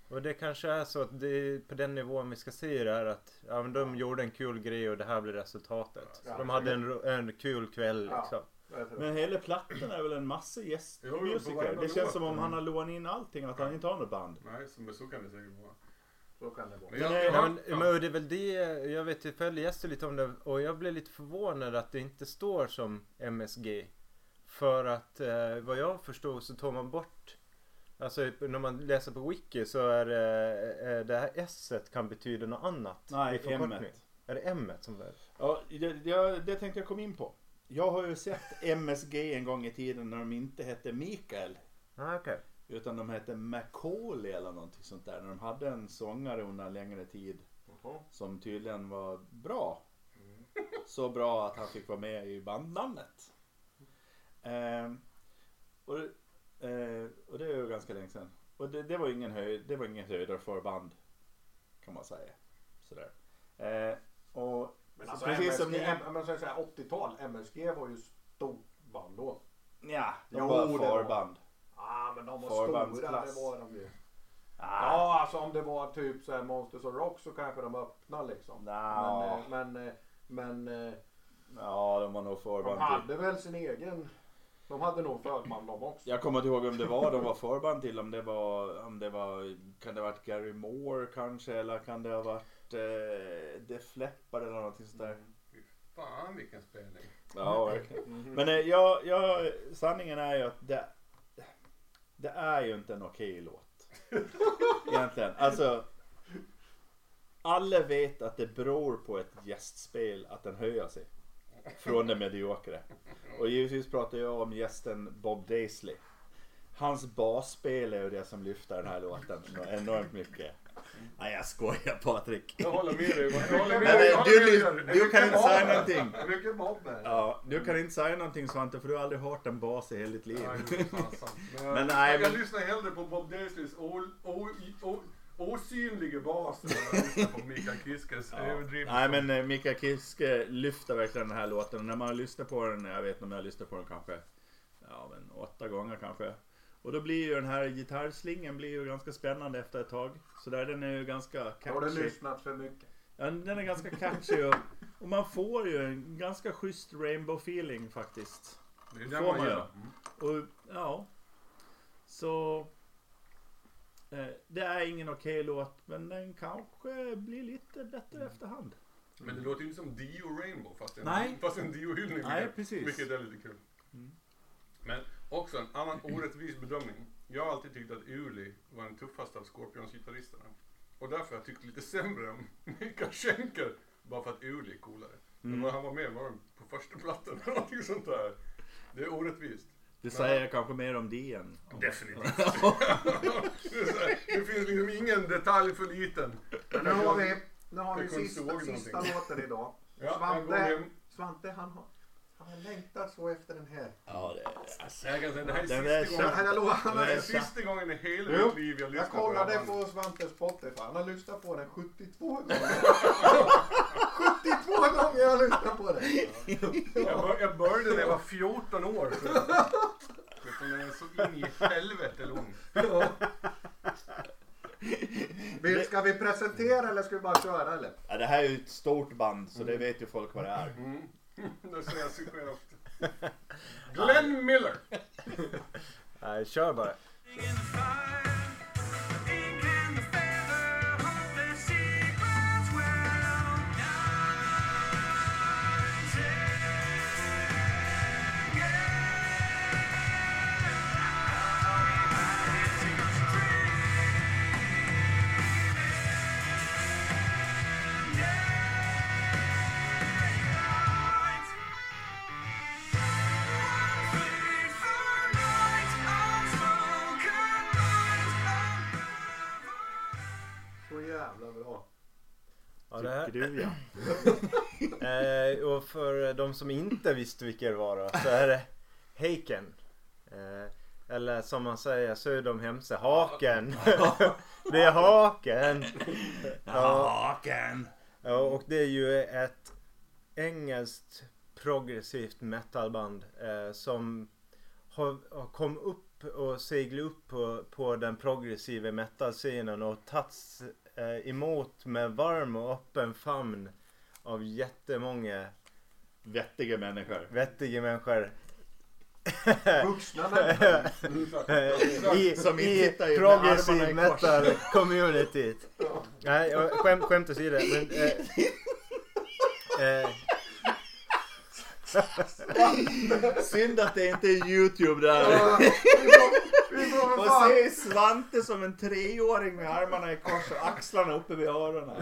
[SPEAKER 4] och det kanske är så att det är på den nivån vi ska se det här att ja, men de gjorde en kul grej och det här blev resultatet.
[SPEAKER 2] Ja,
[SPEAKER 4] de hade en, ro- en kul kväll
[SPEAKER 2] Ja.
[SPEAKER 4] liksom.
[SPEAKER 2] Jag tror-
[SPEAKER 3] Men hela plattan är väl en massa
[SPEAKER 1] Jo, jo, på
[SPEAKER 3] gästmusiker.
[SPEAKER 1] varenda
[SPEAKER 3] Det
[SPEAKER 1] låt.
[SPEAKER 3] känns som om han har lånat in allting, att han inte har något band.
[SPEAKER 1] Nej, så, men så kan det säkert vara.
[SPEAKER 2] Så kan det vara.
[SPEAKER 1] Men jag,
[SPEAKER 3] Nej,
[SPEAKER 1] jag,
[SPEAKER 4] Ja, men, men det är väl det, jag vet jag följde gäster lite om det och jag blev lite förvånad att det inte står som MSG. För att eh, vad jag förstod så tar man bort, alltså när man läser på wiki så är det, eh, det här s kan betyda något annat.
[SPEAKER 3] Nej,
[SPEAKER 4] i förkortning.
[SPEAKER 3] M-et.
[SPEAKER 4] Är det m som det är?
[SPEAKER 3] Ja, det, det, det tänkte jag komma in på. Jag har ju sett MSG en gång i tiden när de inte hette Mikael.
[SPEAKER 4] Ah, okej.
[SPEAKER 3] Utan de hette Macaulay eller någonting sånt där. När de hade en sångare under en längre tid. Som tydligen var bra. Så bra att han fick vara med i bandnamnet. Ehm, och, eh, och det är ju ganska länge sedan. Och det, det var ingen höjd, det var ingen höjdare för band. Kan man säga. Sådär. Eh, och
[SPEAKER 2] Men
[SPEAKER 3] så
[SPEAKER 2] alltså
[SPEAKER 3] precis
[SPEAKER 2] MSG,
[SPEAKER 3] som ni...
[SPEAKER 2] M- men så är det så här, 80-tal, MSG var ju stort band då.
[SPEAKER 3] Ja, de
[SPEAKER 2] Jo, det
[SPEAKER 3] var
[SPEAKER 2] var-
[SPEAKER 3] förband.
[SPEAKER 2] Ja men de var stora,
[SPEAKER 3] Förbandsklass.
[SPEAKER 2] det var de ju.
[SPEAKER 3] Ah,
[SPEAKER 2] Ja alltså om det var typ så här Monsters of Rock så kanske de var öppna liksom.
[SPEAKER 3] Nja.
[SPEAKER 2] Men, eh, men, eh, men eh,
[SPEAKER 3] ja, de var nog
[SPEAKER 2] de
[SPEAKER 3] förband till.
[SPEAKER 2] hade väl sin egen. De hade nog förband de också.
[SPEAKER 3] Jag kommer inte ihåg om det var de var förband till, om det var, om det var, kan det ha varit Gary Moore kanske, eller kan det ha varit eh, Def Leppard eller någonting sånt där.
[SPEAKER 1] fan vilken spelning.
[SPEAKER 3] Ja, verkligen. Men eh, jag, jag, sanningen är ju att det, det är ju inte en okej låt. Egentligen. Alltså, alla vet att det beror på ett gästspel att den höjer sig. Från det mediokra. Och givetvis pratar jag om gästen Bob Daisley. Hans basspel är ju det som lyfter den här låten enormt mycket. Nej, jag skojar Patrik.
[SPEAKER 1] Jag håller med dig. Jag håller med
[SPEAKER 3] Men,
[SPEAKER 1] dig.
[SPEAKER 3] eh,
[SPEAKER 1] Jag håller
[SPEAKER 3] du,
[SPEAKER 1] med dig.
[SPEAKER 3] du kan inte säga någonting.
[SPEAKER 6] Mycket Bob här.
[SPEAKER 3] Ja, du kan inte säga någonting Svante för du har aldrig hört en bas i hela ditt liv.
[SPEAKER 1] Nej, det är fan sant. Men,
[SPEAKER 3] Men nej,
[SPEAKER 1] jag
[SPEAKER 3] men-
[SPEAKER 1] lyssnar hellre på Bob Daisleys o- o- o- osynlige bas än vad jag lyssnar på Mikael Kiskes överdrivna
[SPEAKER 3] Nej men eh, Mikael Kiske lyfter verkligen den här låten. Och När man lyssnar på den, jag vet inte om jag lyssnar på den kanske, ja men åtta gånger kanske. Och då blir ju den här gitarrslingen blir ju ganska spännande efter ett tag. Så där den är ju ganska
[SPEAKER 2] Har du
[SPEAKER 3] catchy.
[SPEAKER 2] lyssnat för mycket?
[SPEAKER 3] Ja, den är ganska catchy och, och man får ju en ganska schysst rainbow feeling faktiskt.
[SPEAKER 1] Det är
[SPEAKER 3] Det
[SPEAKER 1] den
[SPEAKER 3] får
[SPEAKER 1] man
[SPEAKER 3] man ju.
[SPEAKER 1] gillar.
[SPEAKER 3] Och ja. Så. Eh, det är ingen okej låt men den kanske blir lite bättre efterhand.
[SPEAKER 1] Men det låter ju inte som Dio Rainbow fast en,
[SPEAKER 3] Nej.
[SPEAKER 1] fast en Dio-hyllning.
[SPEAKER 3] Nej,
[SPEAKER 1] vilket-
[SPEAKER 3] precis.
[SPEAKER 1] Vilket är lite kul. Men också en annan orättvis bedömning. Jag har alltid tyckt att Uli var den tuffaste av Scorpions-gitarristerna. Och därför har jag tyckt lite sämre om Mikael Schenker. Bara för att Uli är coolare. Men vad han var med var han på första plattan eller någonting sånt där. Det är orättvist.
[SPEAKER 3] Det säger jag kanske mer om det än om
[SPEAKER 1] Definitivt. det, är så här, det finns liksom ingen detalj för liten.
[SPEAKER 2] Men nu har vi, nu har vi
[SPEAKER 1] Jag kunde inte
[SPEAKER 2] sista,
[SPEAKER 1] ihåg
[SPEAKER 2] sista
[SPEAKER 1] någonting.
[SPEAKER 2] låten idag.
[SPEAKER 1] Ja, jag går
[SPEAKER 2] Svante,
[SPEAKER 1] hem.
[SPEAKER 2] Svante han har, han har längtat så efter den här.
[SPEAKER 3] Ja, det
[SPEAKER 1] Jag kan säga, det här är
[SPEAKER 3] Den där
[SPEAKER 1] sista
[SPEAKER 3] känns-
[SPEAKER 1] gången.
[SPEAKER 2] Den här låten.
[SPEAKER 1] Det här är
[SPEAKER 3] Nej,
[SPEAKER 1] sista gången i hela
[SPEAKER 2] Jo,
[SPEAKER 1] mitt liv jag lyssnar
[SPEAKER 2] Jag
[SPEAKER 1] på det
[SPEAKER 2] kollade
[SPEAKER 1] här
[SPEAKER 2] på
[SPEAKER 1] bandet.
[SPEAKER 2] Svantes Spotify. Han har lyssnat på den 72 gånger. 72 gånger har han lyssnat på den.
[SPEAKER 1] Jag, bör, jag började när jag var 14 år. tror jag. Utan Den är så in i helvete lång.
[SPEAKER 2] Vill- Ska vi presentera eller ska vi bara köra eller?
[SPEAKER 3] Ja, det här är ju ett stort band så det vet ju folk vad det är.
[SPEAKER 1] Det säger jag sig själv. Glenn Miller.
[SPEAKER 4] Nej, kör bara.
[SPEAKER 5] Yeah.
[SPEAKER 4] det här.
[SPEAKER 3] Guldgruva.
[SPEAKER 4] Eh, och för de som inte visste vilka det var då, så är det Heiken. Eh, eller som man säger söder om Hemse, Haken. det är Haken.
[SPEAKER 7] Haken!
[SPEAKER 4] Ja, och det är ju ett engelskt progressivt metalband eh, som har, har kom upp och seglat upp på, på den progressiva metalscenen och tagits eh, emot med varm och öppen famn av jättemånga
[SPEAKER 3] Vettiga människor.
[SPEAKER 4] vettiga människor.
[SPEAKER 2] Vuxna människor.
[SPEAKER 4] I,
[SPEAKER 3] Som inte
[SPEAKER 4] i
[SPEAKER 3] tittar in med armarna i
[SPEAKER 4] progressive
[SPEAKER 3] kors.
[SPEAKER 4] metal communityt. Nej, och skämt, skämt åsido. Men, eh, eh,
[SPEAKER 3] Synd att det inte är YouTube där.
[SPEAKER 2] Vi får väl
[SPEAKER 3] Och
[SPEAKER 2] fan-
[SPEAKER 3] se Svante som en treåring med armarna i kors och axlarna uppe vid öronen.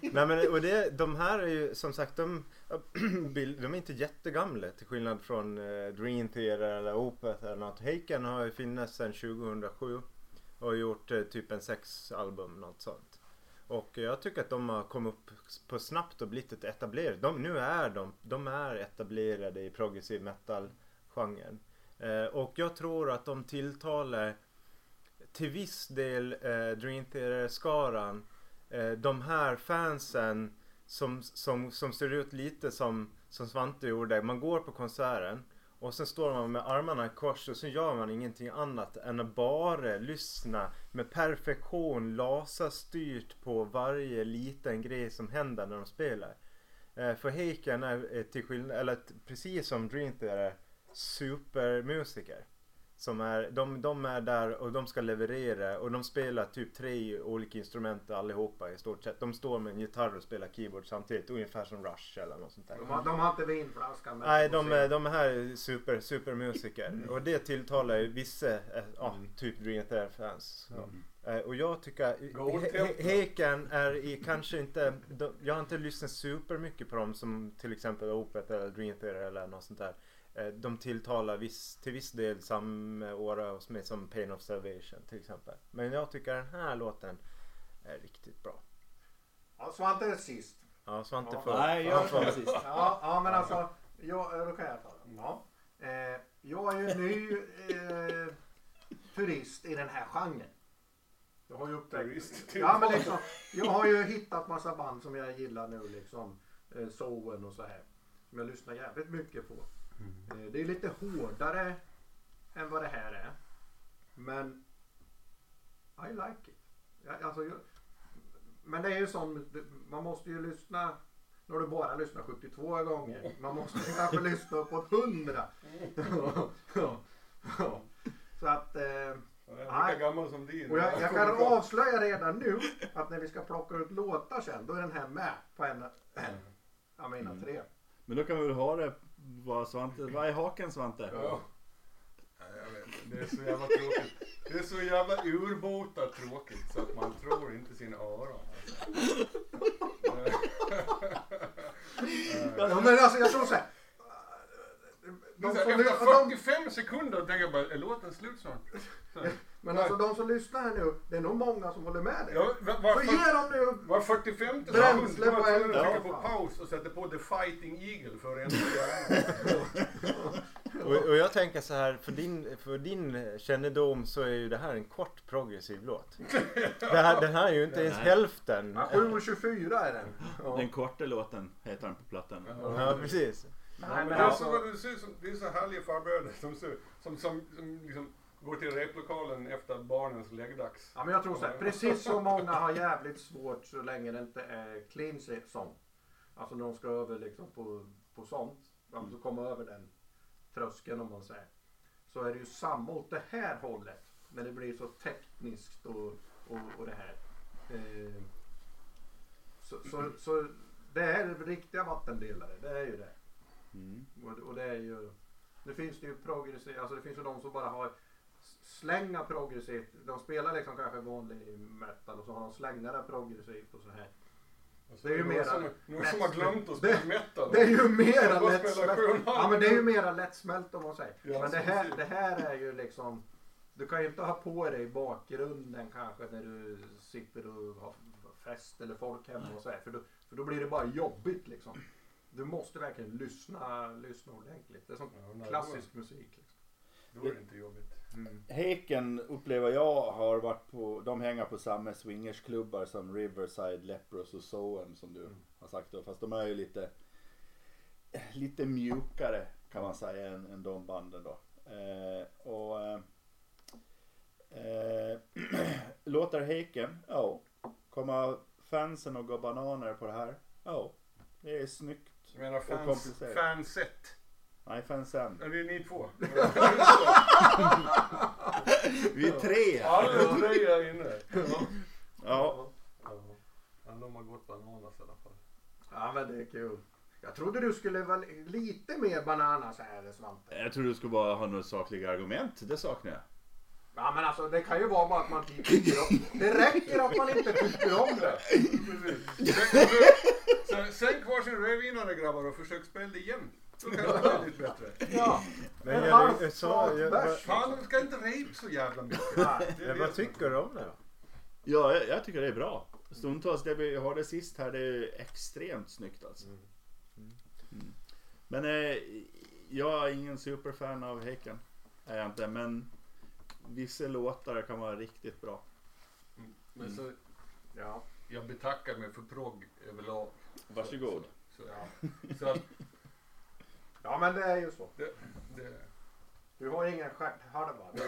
[SPEAKER 4] Nej men och det, de här är ju som sagt de, bild- de är inte jättegamla till skillnad från eh, Dream Theater eller Opeth eller något. Heiken har ju funnits sedan 2007 och gjort eh, typ en sex album något sånt. Och jag tycker att de har kommit upp på snabbt och blivit ett etablerade. De, nu är de, de är etablerade i progressiv metal-genren. Eh, och jag tror att de tilltalar till viss del eh, Dream Theater-skaran eh, de här fansen som, som, som ser ut lite som, som Svante gjorde. Man går på konserten och sen står man med armarna i kors och så gör man ingenting annat än att bara lyssna med perfektion laserstyrt på varje liten grej som händer när de spelar. Eh, för Heiken är eh, till skillnad, eller t- precis som Dream Theater, supermusiker. Som är, de, de är där och de ska leverera och de spelar typ tre olika instrument allihopa i stort sett. De står med en gitarr och spelar keyboard samtidigt, ungefär som Rush eller något sånt där.
[SPEAKER 2] De har, de har inte vinflaskan med
[SPEAKER 4] Nej,
[SPEAKER 2] sig på
[SPEAKER 4] de,
[SPEAKER 2] scen.
[SPEAKER 4] är- de här är super, supermusiker och det tilltalar ju vissa, eh, ja, typ Dream Theater-fans. Ja. Eh, Och jag tycker,
[SPEAKER 6] Gold
[SPEAKER 4] He- He- Heiken är i, kanske inte, de, jag har inte lyssnat supermycket på dem som till exempel Opeth eller Dream Theater eller något sånt där. Eh, De tilltalar viss, till viss del samma hos mig som Pain of Salvation till exempel. Men jag tycker den här låten är riktigt bra.
[SPEAKER 2] Ja, Svante är sist.
[SPEAKER 4] Ja, Svante
[SPEAKER 2] Ja.
[SPEAKER 4] får...
[SPEAKER 7] Nej,
[SPEAKER 4] han
[SPEAKER 7] jag
[SPEAKER 4] får-
[SPEAKER 7] var sist.
[SPEAKER 2] Ja, ja men alltså, jag, eh, då kan jag ta den. Ja. Eh, jag är ju ny eh, turist i den här genren. Jag har ju upptäckt. Ja, men liksom, jag har ju hittat massa band som jag gillar nu liksom. Eh, Soen och så här. Som jag lyssnar jävligt mycket på. Eh, det är lite hårdare än vad det här är. Men I like it. Jag, alltså, jag, men det är ju sån, man måste ju lyssna nu har du bara lyssnat 72 gånger. Man måste kanske lyssna uppåt 100. Ja, ja. Så att, eh,
[SPEAKER 1] Jag är lika gammal som din.
[SPEAKER 2] och jag, jag kan avslöja redan nu att när vi ska plocka ut låtar sen, då är den här med på en, en av mina tre.
[SPEAKER 3] Men då kan vi väl ha det vad Svante, vad är haken Svante?
[SPEAKER 1] Ja. Nej, jag vet. Det är så jävla tråkigt. Det är så jävla urbota tråkigt så att man tror inte sina öron.
[SPEAKER 2] Ja, men alltså jag tror så här.
[SPEAKER 1] Det är
[SPEAKER 2] De
[SPEAKER 1] så här,
[SPEAKER 2] som, lyssnar-
[SPEAKER 1] Efter
[SPEAKER 2] de,
[SPEAKER 1] 45 sekunder tänker jag bara, är låten slut snart? Så här.
[SPEAKER 2] men alltså de som lyssnar här nu, det är nog många som håller med dig.
[SPEAKER 1] Ja, var,
[SPEAKER 2] Så
[SPEAKER 1] var,
[SPEAKER 2] ge dem nu
[SPEAKER 1] var 45 sekund
[SPEAKER 2] Bränsle
[SPEAKER 1] var
[SPEAKER 2] på
[SPEAKER 1] jag tvungen
[SPEAKER 2] elden.
[SPEAKER 1] att trycka på
[SPEAKER 2] Ja.
[SPEAKER 1] paus och sätta på The Fighting Eagle för en gång.
[SPEAKER 4] Och, och jag tänker så här, för din, för din kännedom så är ju det här en kort progressiv låt. Det här, den här är ju inte ens hälften.
[SPEAKER 2] Ja, 7.24 är den.
[SPEAKER 3] Den korta låten heter den på plattan.
[SPEAKER 4] Ja, precis.
[SPEAKER 2] Nej, alltså-
[SPEAKER 1] Men det, är så, det, ser ut som, det är så härliga farbröder som, ser- som, som, som liksom går till replokalen efter barnens läggdags.
[SPEAKER 2] Ja, men jag tror så här, precis så många har jävligt svårt så länge det inte är clean se- sånt. Alltså när de ska över liksom på, på sånt, alltså komma över den tröskeln om man säger. Så är det ju samma åt det här hållet, när det blir så tekniskt och, och, och det här. Eh, så, så, så det är riktiga vattendelare, det är ju det.
[SPEAKER 3] Mm.
[SPEAKER 2] Och, och det är ju, nu finns det ju progressiv, alltså det finns ju de som bara har s- slänga progressivt. De spelar liksom kanske vanlig metal och så har de slängare progressivt och så här. Det är ju
[SPEAKER 1] Några
[SPEAKER 2] mera
[SPEAKER 1] som, några som har
[SPEAKER 2] lättsmält.
[SPEAKER 1] glömt att spela
[SPEAKER 2] Det-
[SPEAKER 1] metal.
[SPEAKER 2] Det är ju mera
[SPEAKER 1] Jag bara spelar sju och
[SPEAKER 2] lättsmält.
[SPEAKER 1] en halv.
[SPEAKER 2] Ja men det är ju mera lättsmält om man säger.
[SPEAKER 1] Ja,
[SPEAKER 2] Men det
[SPEAKER 1] så
[SPEAKER 2] här,
[SPEAKER 1] precis.
[SPEAKER 2] det här är ju liksom, du kan ju inte ha på dig i bakgrunden kanske när du sitter och har fest eller folk hemma och så här. För då, för då blir det bara jobbigt liksom. Du måste verkligen lyssna, lyssna ordentligt. Det är sån
[SPEAKER 6] Ja, nej, det
[SPEAKER 2] klassisk musik. Liksom.
[SPEAKER 6] Då är det inte jobbigt.
[SPEAKER 1] Mm.
[SPEAKER 3] Häcken upplever jag har varit på, de hänger på samma swingersklubbar som Riverside, Lepros och Soen som du har sagt då. Fast de är ju lite, lite mjukare kan man säga än, än de banden då. Eh, och eh, eh, låter Häcken, ja. Kommer fansen att gå bananer på det här? Ja, det är snyggt.
[SPEAKER 6] Du menar
[SPEAKER 3] Och
[SPEAKER 6] fans,
[SPEAKER 3] komplicerat.
[SPEAKER 6] fanset?
[SPEAKER 3] Nej, fansen.
[SPEAKER 6] Ja, det är ni två.
[SPEAKER 3] Vi är tre!
[SPEAKER 6] Ja, det var tre här inne.
[SPEAKER 3] Ja,
[SPEAKER 6] Ja. Men de har gått bananas i alla fall.
[SPEAKER 2] Ja men det är kul. Jag trodde du skulle vara lite mer bananas här Svante.
[SPEAKER 3] jag tror du skulle bara ha några sakliga argument. Det saknar jag.
[SPEAKER 2] Ja men alltså det kan ju vara bara att man inte tycker om det. räcker att man inte tycker om det.
[SPEAKER 6] Precis. Sen- sen- Sen, sänk varsin rödvinare grabbar och försök spela det igen. Då kanske det blir lite bättre.
[SPEAKER 2] Ja.
[SPEAKER 4] Men
[SPEAKER 2] en
[SPEAKER 4] jag-
[SPEAKER 2] halv
[SPEAKER 4] jag sa-
[SPEAKER 2] flat
[SPEAKER 4] jag-
[SPEAKER 2] bärs.
[SPEAKER 6] Fan, du ska inte rape så jävla mycket.
[SPEAKER 2] Nej.
[SPEAKER 6] Det är
[SPEAKER 4] Men
[SPEAKER 6] det
[SPEAKER 4] vad
[SPEAKER 6] som-
[SPEAKER 4] tycker du om det då?
[SPEAKER 3] Ja, jag, jag tycker det är bra. Stundtals, det vi har det sist här, det är extremt snyggt alltså. Mm. Men eh, jag är ingen superfan av Häcken. Är jag inte, men vissa låtar kan vara riktigt bra.
[SPEAKER 6] Men så,
[SPEAKER 2] Ja.
[SPEAKER 6] jag betackar mig för progg överlag.
[SPEAKER 3] Varsågod.
[SPEAKER 6] Så, ja. så att
[SPEAKER 2] ja men det är ju så.
[SPEAKER 6] det, det,
[SPEAKER 2] Du har ingen stjärthalva. Du,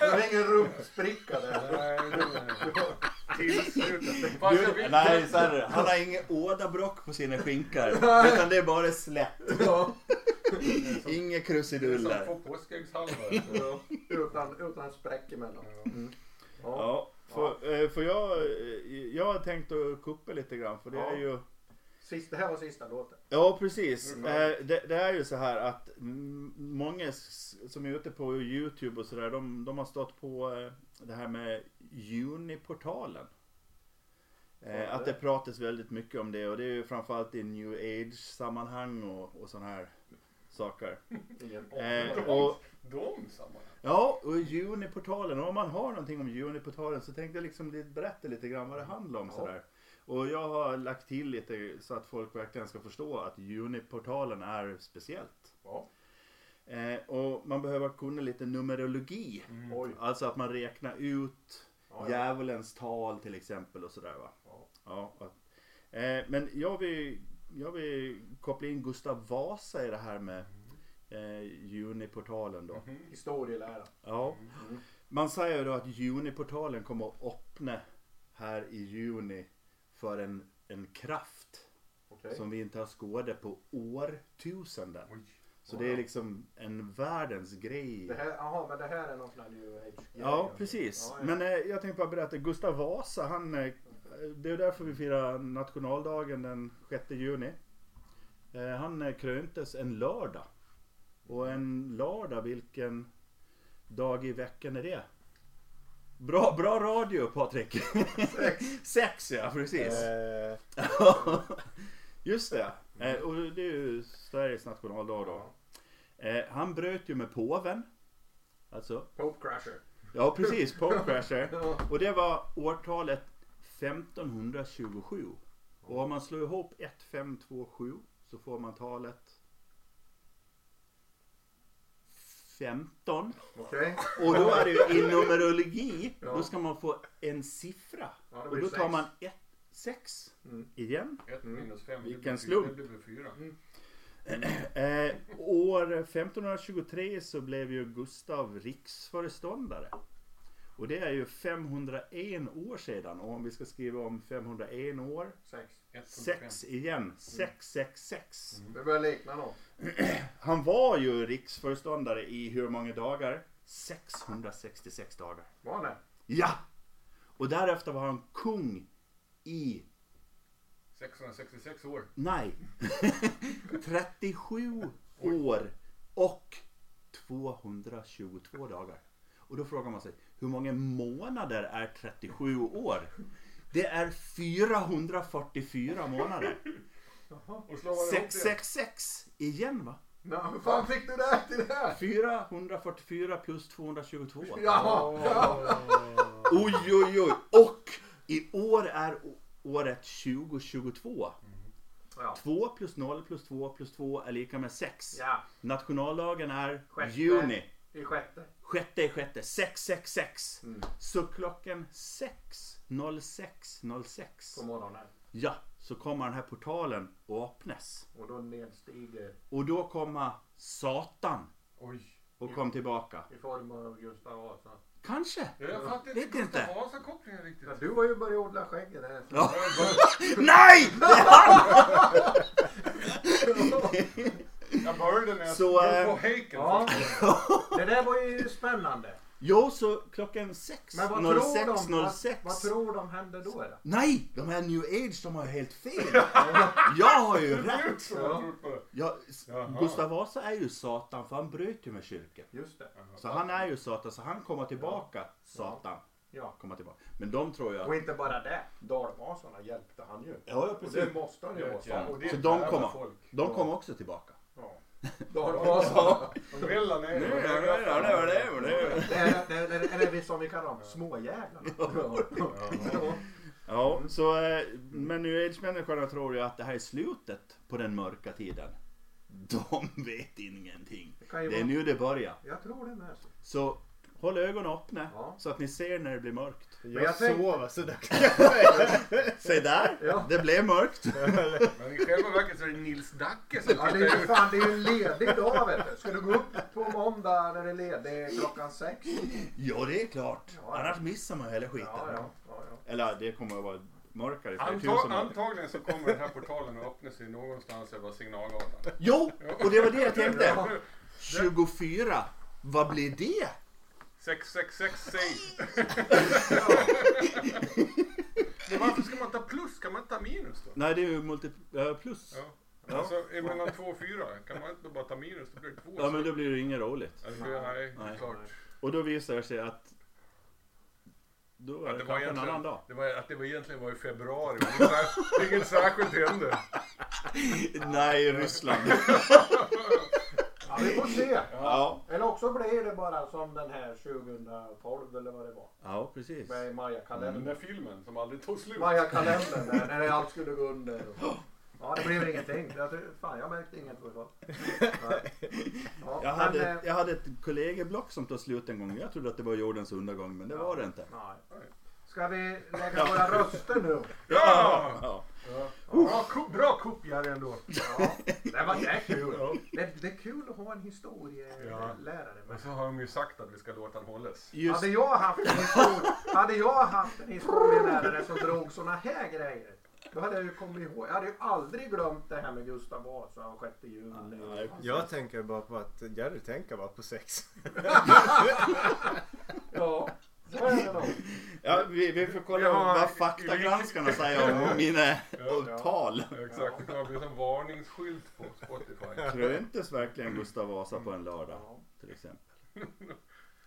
[SPEAKER 2] du har ingen rumpspricka där.
[SPEAKER 6] nej, det tillslutet. Fast jag vill-
[SPEAKER 3] nej, så här, han har ingen ådabrock på sina skinkor. utan det är bara slätt.
[SPEAKER 2] Ja.
[SPEAKER 3] Inga
[SPEAKER 6] Det är som
[SPEAKER 3] krusiduller.
[SPEAKER 6] på påskäggshalva. så-
[SPEAKER 2] Utan, utan spräck emellan. Mm. Ja.
[SPEAKER 3] Ja, för, eh, för jag, eh, jag har tänkt att kuppa lite grann för det
[SPEAKER 2] Ja.
[SPEAKER 3] är ju
[SPEAKER 2] Sist, det här var sista låten.
[SPEAKER 3] Ja precis.
[SPEAKER 6] Mm.
[SPEAKER 3] Eh, det, det är ju så här att mm, många s- som är ute på Youtube och sådär de, de har stått på eh, det här med Juniportalen.
[SPEAKER 2] Ja,
[SPEAKER 3] Eh, att
[SPEAKER 2] det.
[SPEAKER 3] det pratas väldigt mycket om det och det är ju framförallt i new age sammanhang och, och sådana här saker.
[SPEAKER 2] Ingen
[SPEAKER 3] Eh,
[SPEAKER 2] aning.
[SPEAKER 3] och,
[SPEAKER 6] De samma.
[SPEAKER 3] ja, och Juniportalen. Och om man har någonting om Juniportalen så tänkte jag liksom li- berätta lite grann vad det handlar om
[SPEAKER 2] Ja.
[SPEAKER 3] sådär. Och jag har lagt till lite så att folk verkligen ska förstå att Juniportalen är speciellt.
[SPEAKER 2] Ja.
[SPEAKER 3] Eh, och man behöver kunna lite numerologi.
[SPEAKER 2] Mm. Oj.
[SPEAKER 3] Alltså att man räknar ut
[SPEAKER 2] Ja, ja.
[SPEAKER 3] djävulens tal till exempel och sådär va.
[SPEAKER 2] Ja.
[SPEAKER 3] Ja, och- eh, men jag vill, jag vill koppla in Gustav Vasa i det här med
[SPEAKER 2] Mm.
[SPEAKER 3] eh, Juniportalen då.
[SPEAKER 2] Mhm. Historielära.
[SPEAKER 3] Ja. Man säger ju då att juniportalen kommer att öppna här i juni för en, en kraft
[SPEAKER 2] Okej.
[SPEAKER 3] som vi inte har skådat på årtusenden.
[SPEAKER 6] Oj.
[SPEAKER 3] Så det är liksom en världens grej.
[SPEAKER 2] Det här, jaha, men det här är någon sån här new age
[SPEAKER 3] Ja, precis. Men eh, jag tänkte bara berätta, Gustav Vasa, han, eh, det är därför vi firar nationaldagen den 6 juni. Eh, han eh, kröntes en lördag. Och en lördag, vilken dag i veckan är det? Bra, bra radio Patrik! Sex! Sex ja, precis!
[SPEAKER 4] Eh,
[SPEAKER 3] Just det! Eh, och det är ju Sveriges nationaldag då. Eh, han bröt ju med påven. Alltså
[SPEAKER 2] Pope Crusher.
[SPEAKER 3] Ja precis, Popcrasher.
[SPEAKER 2] Ja.
[SPEAKER 3] Och det var årtalet 1527. Och om man slår ihop 1527 så får man talet 15.
[SPEAKER 2] Okej.
[SPEAKER 3] Och då är det ju i numerologi,
[SPEAKER 2] Ja.
[SPEAKER 3] då ska man få en siffra.
[SPEAKER 2] Ja, det
[SPEAKER 3] Och
[SPEAKER 2] blir
[SPEAKER 3] då tar
[SPEAKER 2] sex.
[SPEAKER 3] man 6
[SPEAKER 2] Mm.
[SPEAKER 3] igen.
[SPEAKER 6] Ett minus fem. det
[SPEAKER 3] Vilken
[SPEAKER 6] blir fyra,
[SPEAKER 3] slump.
[SPEAKER 6] Det blir fyra.
[SPEAKER 3] Eh, år 1523 så blev ju Gustav riksföreståndare. Och det är ju 501 år sedan. Och om vi ska skriva om 501 år.
[SPEAKER 2] Sex.
[SPEAKER 6] Ett punkt
[SPEAKER 3] sex igen. 666.
[SPEAKER 2] Det börjar likna något.
[SPEAKER 3] Han var ju riksföreståndare i hur många dagar? 666 dagar.
[SPEAKER 2] Var det?
[SPEAKER 3] Ja! Och därefter var han kung i,
[SPEAKER 6] fem. 666 år.
[SPEAKER 3] nej, 37 år och 222 dagar. Och då frågar man sig, hur många månader är 37 år? Det är 444 månader.
[SPEAKER 6] Och slår man ihop det.
[SPEAKER 3] 666 igen va?
[SPEAKER 2] Ja, hur fan fick du det här till det här?
[SPEAKER 3] 444 plus 222.
[SPEAKER 2] Jaha.
[SPEAKER 3] Oj, oj, oj. Och i år är året 2022.
[SPEAKER 2] Mm. Ja.
[SPEAKER 3] 2 plus 0 plus 2 plus 2 är lika med 6.
[SPEAKER 2] ja,
[SPEAKER 3] Nationaldagen är
[SPEAKER 2] Sjätte.
[SPEAKER 3] juni.
[SPEAKER 2] i sjätte.
[SPEAKER 3] Sjätte är sjätte. 666.
[SPEAKER 2] Mm.
[SPEAKER 3] Så klockan 6.06.06.
[SPEAKER 2] på morgonen.
[SPEAKER 3] Ja, så kommer den här portalen och öppnas.
[SPEAKER 2] Och då nedstiger
[SPEAKER 3] Och då kommer Satan
[SPEAKER 1] Oj.
[SPEAKER 3] och kom tillbaka.
[SPEAKER 2] i form av Gustav Vasa.
[SPEAKER 3] Kanske.
[SPEAKER 1] Ja, Jag fattar
[SPEAKER 3] Vet
[SPEAKER 1] inte
[SPEAKER 3] inte.
[SPEAKER 1] Gustav Vasa-kopplingen riktigt.
[SPEAKER 2] Ja, du har ju börjat odla skägget där.
[SPEAKER 3] Nej!
[SPEAKER 1] Jag började när jag
[SPEAKER 3] Så,
[SPEAKER 1] drog
[SPEAKER 3] eh,
[SPEAKER 1] på Heiken.
[SPEAKER 2] Ja, det där var ju spännande.
[SPEAKER 3] Jo, så klockan
[SPEAKER 2] Men vad tror, de,
[SPEAKER 3] 6.06.06.
[SPEAKER 2] Vad, vad tror de händer då? då?
[SPEAKER 3] Nej, de här new age de har ju helt fel. Jag har ju rätt.
[SPEAKER 1] Så jag tror på det.
[SPEAKER 3] Jag, s-
[SPEAKER 1] Jaha.
[SPEAKER 3] Gustav Vasa är ju Satan för han bröt ju med kyrkan.
[SPEAKER 2] Just det.
[SPEAKER 3] Så han är ju Satan så han kommer tillbaka. Satan
[SPEAKER 2] Ja.
[SPEAKER 3] kommer tillbaka. Men de tror ju
[SPEAKER 2] Och
[SPEAKER 3] att...
[SPEAKER 2] inte bara det. Dalmasarna hjälpte han ju.
[SPEAKER 3] Ja, ja,
[SPEAKER 2] Och
[SPEAKER 3] precis.
[SPEAKER 2] det måste han ju vara.
[SPEAKER 1] Ja, och det är
[SPEAKER 3] Så
[SPEAKER 1] ett
[SPEAKER 3] de
[SPEAKER 1] jävla
[SPEAKER 3] kommer.
[SPEAKER 1] folk.
[SPEAKER 3] De kommer också tillbaka.
[SPEAKER 2] Dalmasarna.
[SPEAKER 1] De vällar ner.
[SPEAKER 3] Nu, nu, nu, nu, nu.
[SPEAKER 2] Det är, det är, det är, det är vi som vi kallar dem, småjävlarna. Ja.
[SPEAKER 3] Ja, så, eh, men new age-människorna tror ju att det här är slutet på den mörka tiden. De vet ingenting.
[SPEAKER 2] Det kan ju
[SPEAKER 3] Det är
[SPEAKER 2] vara.
[SPEAKER 3] nu det börjar.
[SPEAKER 2] Jag tror det med. sig.
[SPEAKER 3] Så håll ögonen öppna
[SPEAKER 2] Ja.
[SPEAKER 3] så att ni ser när det blir mörkt.
[SPEAKER 4] Jag,
[SPEAKER 2] Men jag tänkte-
[SPEAKER 4] sover så där kan jag säga.
[SPEAKER 3] Se där,
[SPEAKER 2] Ja.
[SPEAKER 3] det blev mörkt.
[SPEAKER 1] Men i själva verket så är det Nils Dacke som
[SPEAKER 2] Ja,
[SPEAKER 1] tittar
[SPEAKER 2] det är ju
[SPEAKER 1] ut.
[SPEAKER 2] fan, det är ju en ledig dag vet du. Ska du gå upp på måndag när det är ledig klockan sex?
[SPEAKER 3] Ja, det är klart.
[SPEAKER 2] Ja.
[SPEAKER 3] Annars missar man hela skiten.
[SPEAKER 2] Ja, ja, ja, ja.
[SPEAKER 3] Eller det kommer att vara mörkare i flera
[SPEAKER 1] Antag,
[SPEAKER 3] tusen år.
[SPEAKER 1] antagligen så kommer den här portalen att öppna sig någonstans över Signalgatan.
[SPEAKER 3] Jo, och det var det jag tänkte.
[SPEAKER 2] Ja.
[SPEAKER 3] 24, vad blir det?
[SPEAKER 1] 666 save. Men varför ska man ta plus? Kan man inte ta minus då?
[SPEAKER 3] Nej, det är ju multi... ja, plus.
[SPEAKER 1] Ja. Alltså är mellan 2 och 4, kan man inte bara ta minus? Då blir det 2.
[SPEAKER 3] Ja, men då blir det inget roligt.
[SPEAKER 1] Alltså, nej, det är
[SPEAKER 3] Nej.
[SPEAKER 1] klart.
[SPEAKER 3] Och då visar det sig att då är
[SPEAKER 1] Att
[SPEAKER 3] det
[SPEAKER 1] det, var
[SPEAKER 3] kanske en annan
[SPEAKER 1] egentligen,
[SPEAKER 3] dag.
[SPEAKER 1] det var, att det var egentligen var i februari. men Inget, sär- inget särskilt hände.
[SPEAKER 3] Nej, Ryssland.
[SPEAKER 2] Ja, vi får se.
[SPEAKER 3] Ja,
[SPEAKER 2] Eller också blir det bara som den här 2012 eller vad det var.
[SPEAKER 3] ja precis.
[SPEAKER 2] Med
[SPEAKER 1] Den
[SPEAKER 2] Maya-kalendern.
[SPEAKER 1] där filmen som aldrig tog slut.
[SPEAKER 2] Maya-kalendern där, när det allt skulle gå under. Och... Ja, det blev ingenting. Jag tror, fan, jag märkte inget. i alla fall. Nej. Ja,
[SPEAKER 3] Jag
[SPEAKER 2] men, eh,
[SPEAKER 3] hade, jag hade ett kollegieblock som tog slut en gång. Jag trodde att det var jordens undergång, men det var det inte.
[SPEAKER 2] nej. Ska vi lägga våra röster nu?
[SPEAKER 1] Ja!
[SPEAKER 3] Ja.
[SPEAKER 1] Bra, ku- bra kupp Jerry ändå.
[SPEAKER 2] Ja, det, var, det är kul. Det, det är kul att ha en historielärare.
[SPEAKER 1] Men
[SPEAKER 2] med.
[SPEAKER 1] så har de ju sagt att vi ska låta den hållas.
[SPEAKER 3] Just,
[SPEAKER 2] Hade jag haft en, histori- hade jag haft en historielärare som drog såna här grejer. Då hade jag ju kommit ihåg. Jag hade ju aldrig glömt det här med Gustav Vasa och 6 juni.
[SPEAKER 3] nej.
[SPEAKER 4] jag tänker bara på att Jerry tänker bara på sex.
[SPEAKER 2] Ja, så är det då.
[SPEAKER 3] ja, vi, vi får kolla
[SPEAKER 1] Ja,
[SPEAKER 3] vad
[SPEAKER 1] vi-
[SPEAKER 3] faktagranskarna säger om mina tal.
[SPEAKER 1] Exakt, det kommer bli som varningsskylt på Spotify.
[SPEAKER 3] Kröntes verkligen Gustav Vasa på en lördag? Till exempel.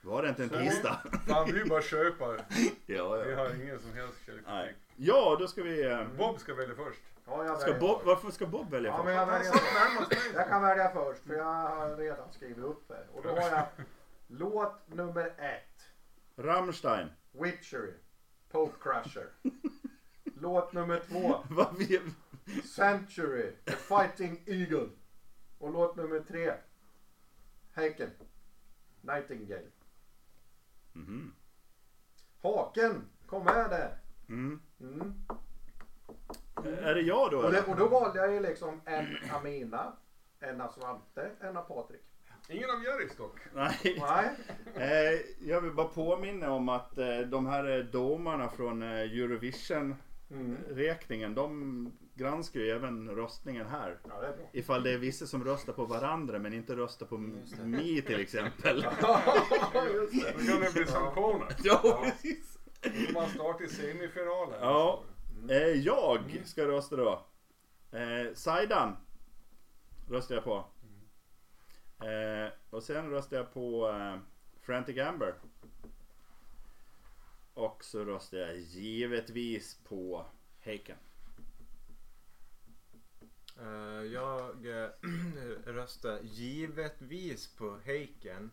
[SPEAKER 3] Var det inte en tisdag?
[SPEAKER 1] Fan, vi är bara köpare.
[SPEAKER 3] Ja,
[SPEAKER 1] Vi
[SPEAKER 3] ja.
[SPEAKER 1] har ingen som helst
[SPEAKER 3] Nej.
[SPEAKER 1] kärlek.
[SPEAKER 3] Ja, då ska vi... eh,
[SPEAKER 1] Bob ska välja först.
[SPEAKER 2] Ja, jag
[SPEAKER 3] Ska
[SPEAKER 2] väljer
[SPEAKER 3] Bob,
[SPEAKER 2] först.
[SPEAKER 3] varför ska Bob välja
[SPEAKER 2] Ja, men
[SPEAKER 3] först?
[SPEAKER 1] Han
[SPEAKER 2] jag, väljer
[SPEAKER 1] satt
[SPEAKER 2] först.
[SPEAKER 1] närmast mig.
[SPEAKER 2] jag kan välja först för jag har redan skrivit upp det. Och då har jag låt nummer ett.
[SPEAKER 3] Rammstein.
[SPEAKER 2] Witchery. Pope Crusher. Låt nummer två.
[SPEAKER 3] Vad vi...
[SPEAKER 2] Century. The Fighting Eagle. Och låt nummer tre. Häcken. Nightingale.
[SPEAKER 3] Mhm.
[SPEAKER 2] Haken. Kom med där.
[SPEAKER 3] Mm.
[SPEAKER 2] Mm.
[SPEAKER 3] Är det jag då
[SPEAKER 2] Och, det,
[SPEAKER 3] eller?
[SPEAKER 2] och då valde jag ju liksom en Amina. En Svante. En Patrik.
[SPEAKER 1] Ingen av Jerrys dock.
[SPEAKER 3] Nej.
[SPEAKER 2] Nej.
[SPEAKER 3] Eh, jag vill bara påminna om att eh, de här eh, domarna från eh, Eurovision-räkningen,
[SPEAKER 2] Mm.
[SPEAKER 3] de granskar ju även röstningen här.
[SPEAKER 2] Ja, det är bra.
[SPEAKER 3] Ifall det är vissa som röstar på varandra men inte röstar på mig till exempel.
[SPEAKER 2] Just det.
[SPEAKER 1] Då kan det bli sanktioner.
[SPEAKER 3] ja, precis.
[SPEAKER 1] Man startar i semifinalen.
[SPEAKER 3] Ja, eh, jag
[SPEAKER 1] Mm.
[SPEAKER 3] ska rösta då. Eh, Saidan röstar jag på.
[SPEAKER 1] Mm.
[SPEAKER 3] Eh, och sen röstar jag på eh, Frantic Amber. Och så röstar jag givetvis på Haken.
[SPEAKER 4] Eh, jag eh, röstar givetvis på eh, Haken,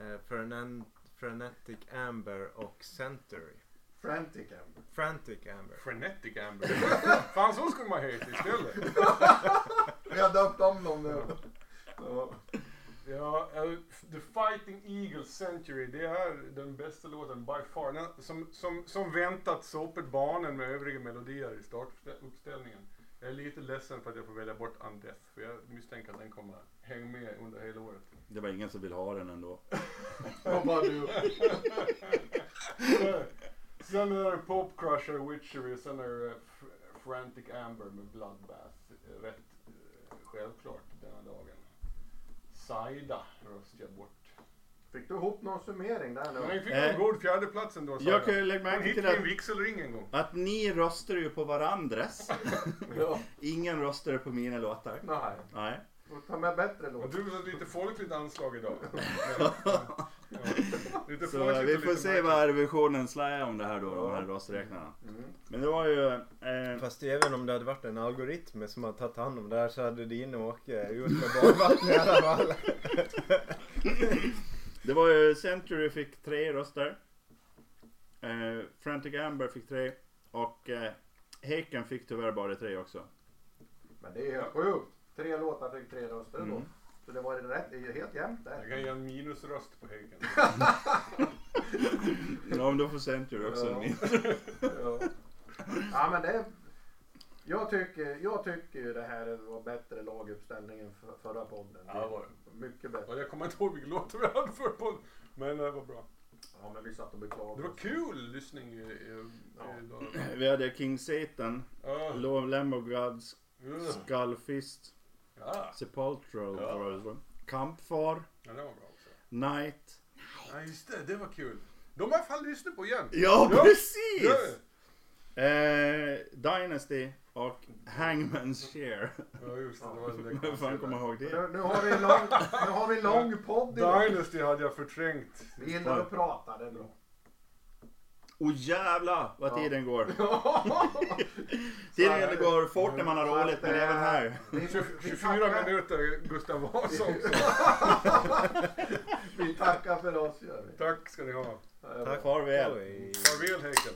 [SPEAKER 4] uh, Frenetic Amber och Century.
[SPEAKER 2] Frantic Amber.
[SPEAKER 4] Frantic Amber.
[SPEAKER 1] Frenetic Amber. Fan, så skulle man heta istället.
[SPEAKER 2] Vi har döpt om dem nu. Ja.
[SPEAKER 1] Ja, eh, The Fighting Eagle Century, det är den bästa låten by far. Den, som, som, som väntat såpet barnen med övriga melodier i startuppställningen. Jag är lite ledsen för att jag får välja bort Undeath, för jag misstänker att den kommer hänga med under hela året.
[SPEAKER 3] Det var ingen som vill ha den ändå.
[SPEAKER 2] Och bara du.
[SPEAKER 1] sen är det Pop Crusher, Witchery, sen är det Fr- Frantic Amber med Bloodbath. Eh, Rätt eh, självklart denna dagen. Saida röstar jag bort.
[SPEAKER 2] Fick du ihop någon summering där
[SPEAKER 1] Men
[SPEAKER 2] nu?
[SPEAKER 1] den fick en
[SPEAKER 3] Eh,
[SPEAKER 1] god fjärdeplats ändå Sara.
[SPEAKER 3] Jag kan ju lägga
[SPEAKER 1] Hon
[SPEAKER 3] märke till
[SPEAKER 1] hittade
[SPEAKER 3] att,
[SPEAKER 1] en vigselring en gång.
[SPEAKER 3] att ni röstar ju på varandras.
[SPEAKER 2] Ja.
[SPEAKER 3] Ingen röstar på mina låtar.
[SPEAKER 2] Nej,
[SPEAKER 3] Nej.
[SPEAKER 2] får ta med bättre
[SPEAKER 1] Och
[SPEAKER 2] låt.
[SPEAKER 1] du har lite folkligt anslag idag. Men, ja. Lite
[SPEAKER 3] Så
[SPEAKER 1] folkligt
[SPEAKER 3] vi
[SPEAKER 1] och
[SPEAKER 3] får
[SPEAKER 1] lite
[SPEAKER 3] se
[SPEAKER 1] märkligt. Mm.
[SPEAKER 3] vad revisionen slår om det här då, de här rösträknarna. Men det var ju... Eh,
[SPEAKER 4] Fast även om det hade varit en algoritm som hade tagit hand om det här så hade din och Åke gjort med badvattnet i alla fall.
[SPEAKER 3] Det var ju Century fick tre röster. Eh, Frantic Amber fick tre. Och eh, Heken fick tyvärr bara tre också.
[SPEAKER 2] Men det är helt sjukt. Tre låtar fick tre röster ändå.
[SPEAKER 3] Mm.
[SPEAKER 2] Så det var rätt, det är helt jämnt
[SPEAKER 1] Jag
[SPEAKER 2] där.
[SPEAKER 1] kan ge en minusröst på Häggen.
[SPEAKER 3] Ja men då får Century också en
[SPEAKER 2] Ja.
[SPEAKER 3] min.
[SPEAKER 2] Ja. ja men det är, jag tycker, jag tycker ju det här var bättre laguppställning än för, förra podden.
[SPEAKER 1] Ja, det var det.
[SPEAKER 2] Mycket bättre.
[SPEAKER 1] Och jag kommer inte ihåg vilken låt vi hade för på Men det var bra.
[SPEAKER 2] Ja men vi satt och
[SPEAKER 1] Det
[SPEAKER 2] beklagade
[SPEAKER 1] var kul lyssning i, i,
[SPEAKER 2] Ja.
[SPEAKER 1] i dag.
[SPEAKER 3] Vi hade King Satan,
[SPEAKER 1] Ja.
[SPEAKER 3] Law of Lamb of Gods,
[SPEAKER 1] Ja.
[SPEAKER 3] Skullfist,
[SPEAKER 1] Ja,
[SPEAKER 3] Sepultural,
[SPEAKER 1] Mm. Ja.
[SPEAKER 3] ja. Kampfar,
[SPEAKER 1] Ja, det var bra också.
[SPEAKER 3] Knight.
[SPEAKER 1] Ja, just det. Det var kul. De har jag fan lyssnat på igen.
[SPEAKER 3] Ja,
[SPEAKER 1] Ja.
[SPEAKER 3] precis!
[SPEAKER 1] Ja.
[SPEAKER 3] Eh, Dynasty och Hangman's Share.
[SPEAKER 1] Ja, just det. Det var den
[SPEAKER 3] Vem fan kommer ihåg det?
[SPEAKER 2] Nu, nu har vi en lång, nu har vi en lång podd
[SPEAKER 1] där.
[SPEAKER 2] idag.
[SPEAKER 1] Dynasty hade jag förträngt.
[SPEAKER 2] Vi gillar att prata, det är bra.
[SPEAKER 3] Åh jävlar vad
[SPEAKER 2] Ja.
[SPEAKER 3] tiden går! Tiden går fort när man har roligt men även här.
[SPEAKER 2] Vi, vi,
[SPEAKER 1] 24
[SPEAKER 2] tackar,
[SPEAKER 1] minuter Gustav Vasa också.
[SPEAKER 2] vi tackar för oss gör vi.
[SPEAKER 1] Tack ska ni ha.
[SPEAKER 2] Ja, det var-
[SPEAKER 3] Farväl!
[SPEAKER 4] Oj.
[SPEAKER 1] Farväl Häcken.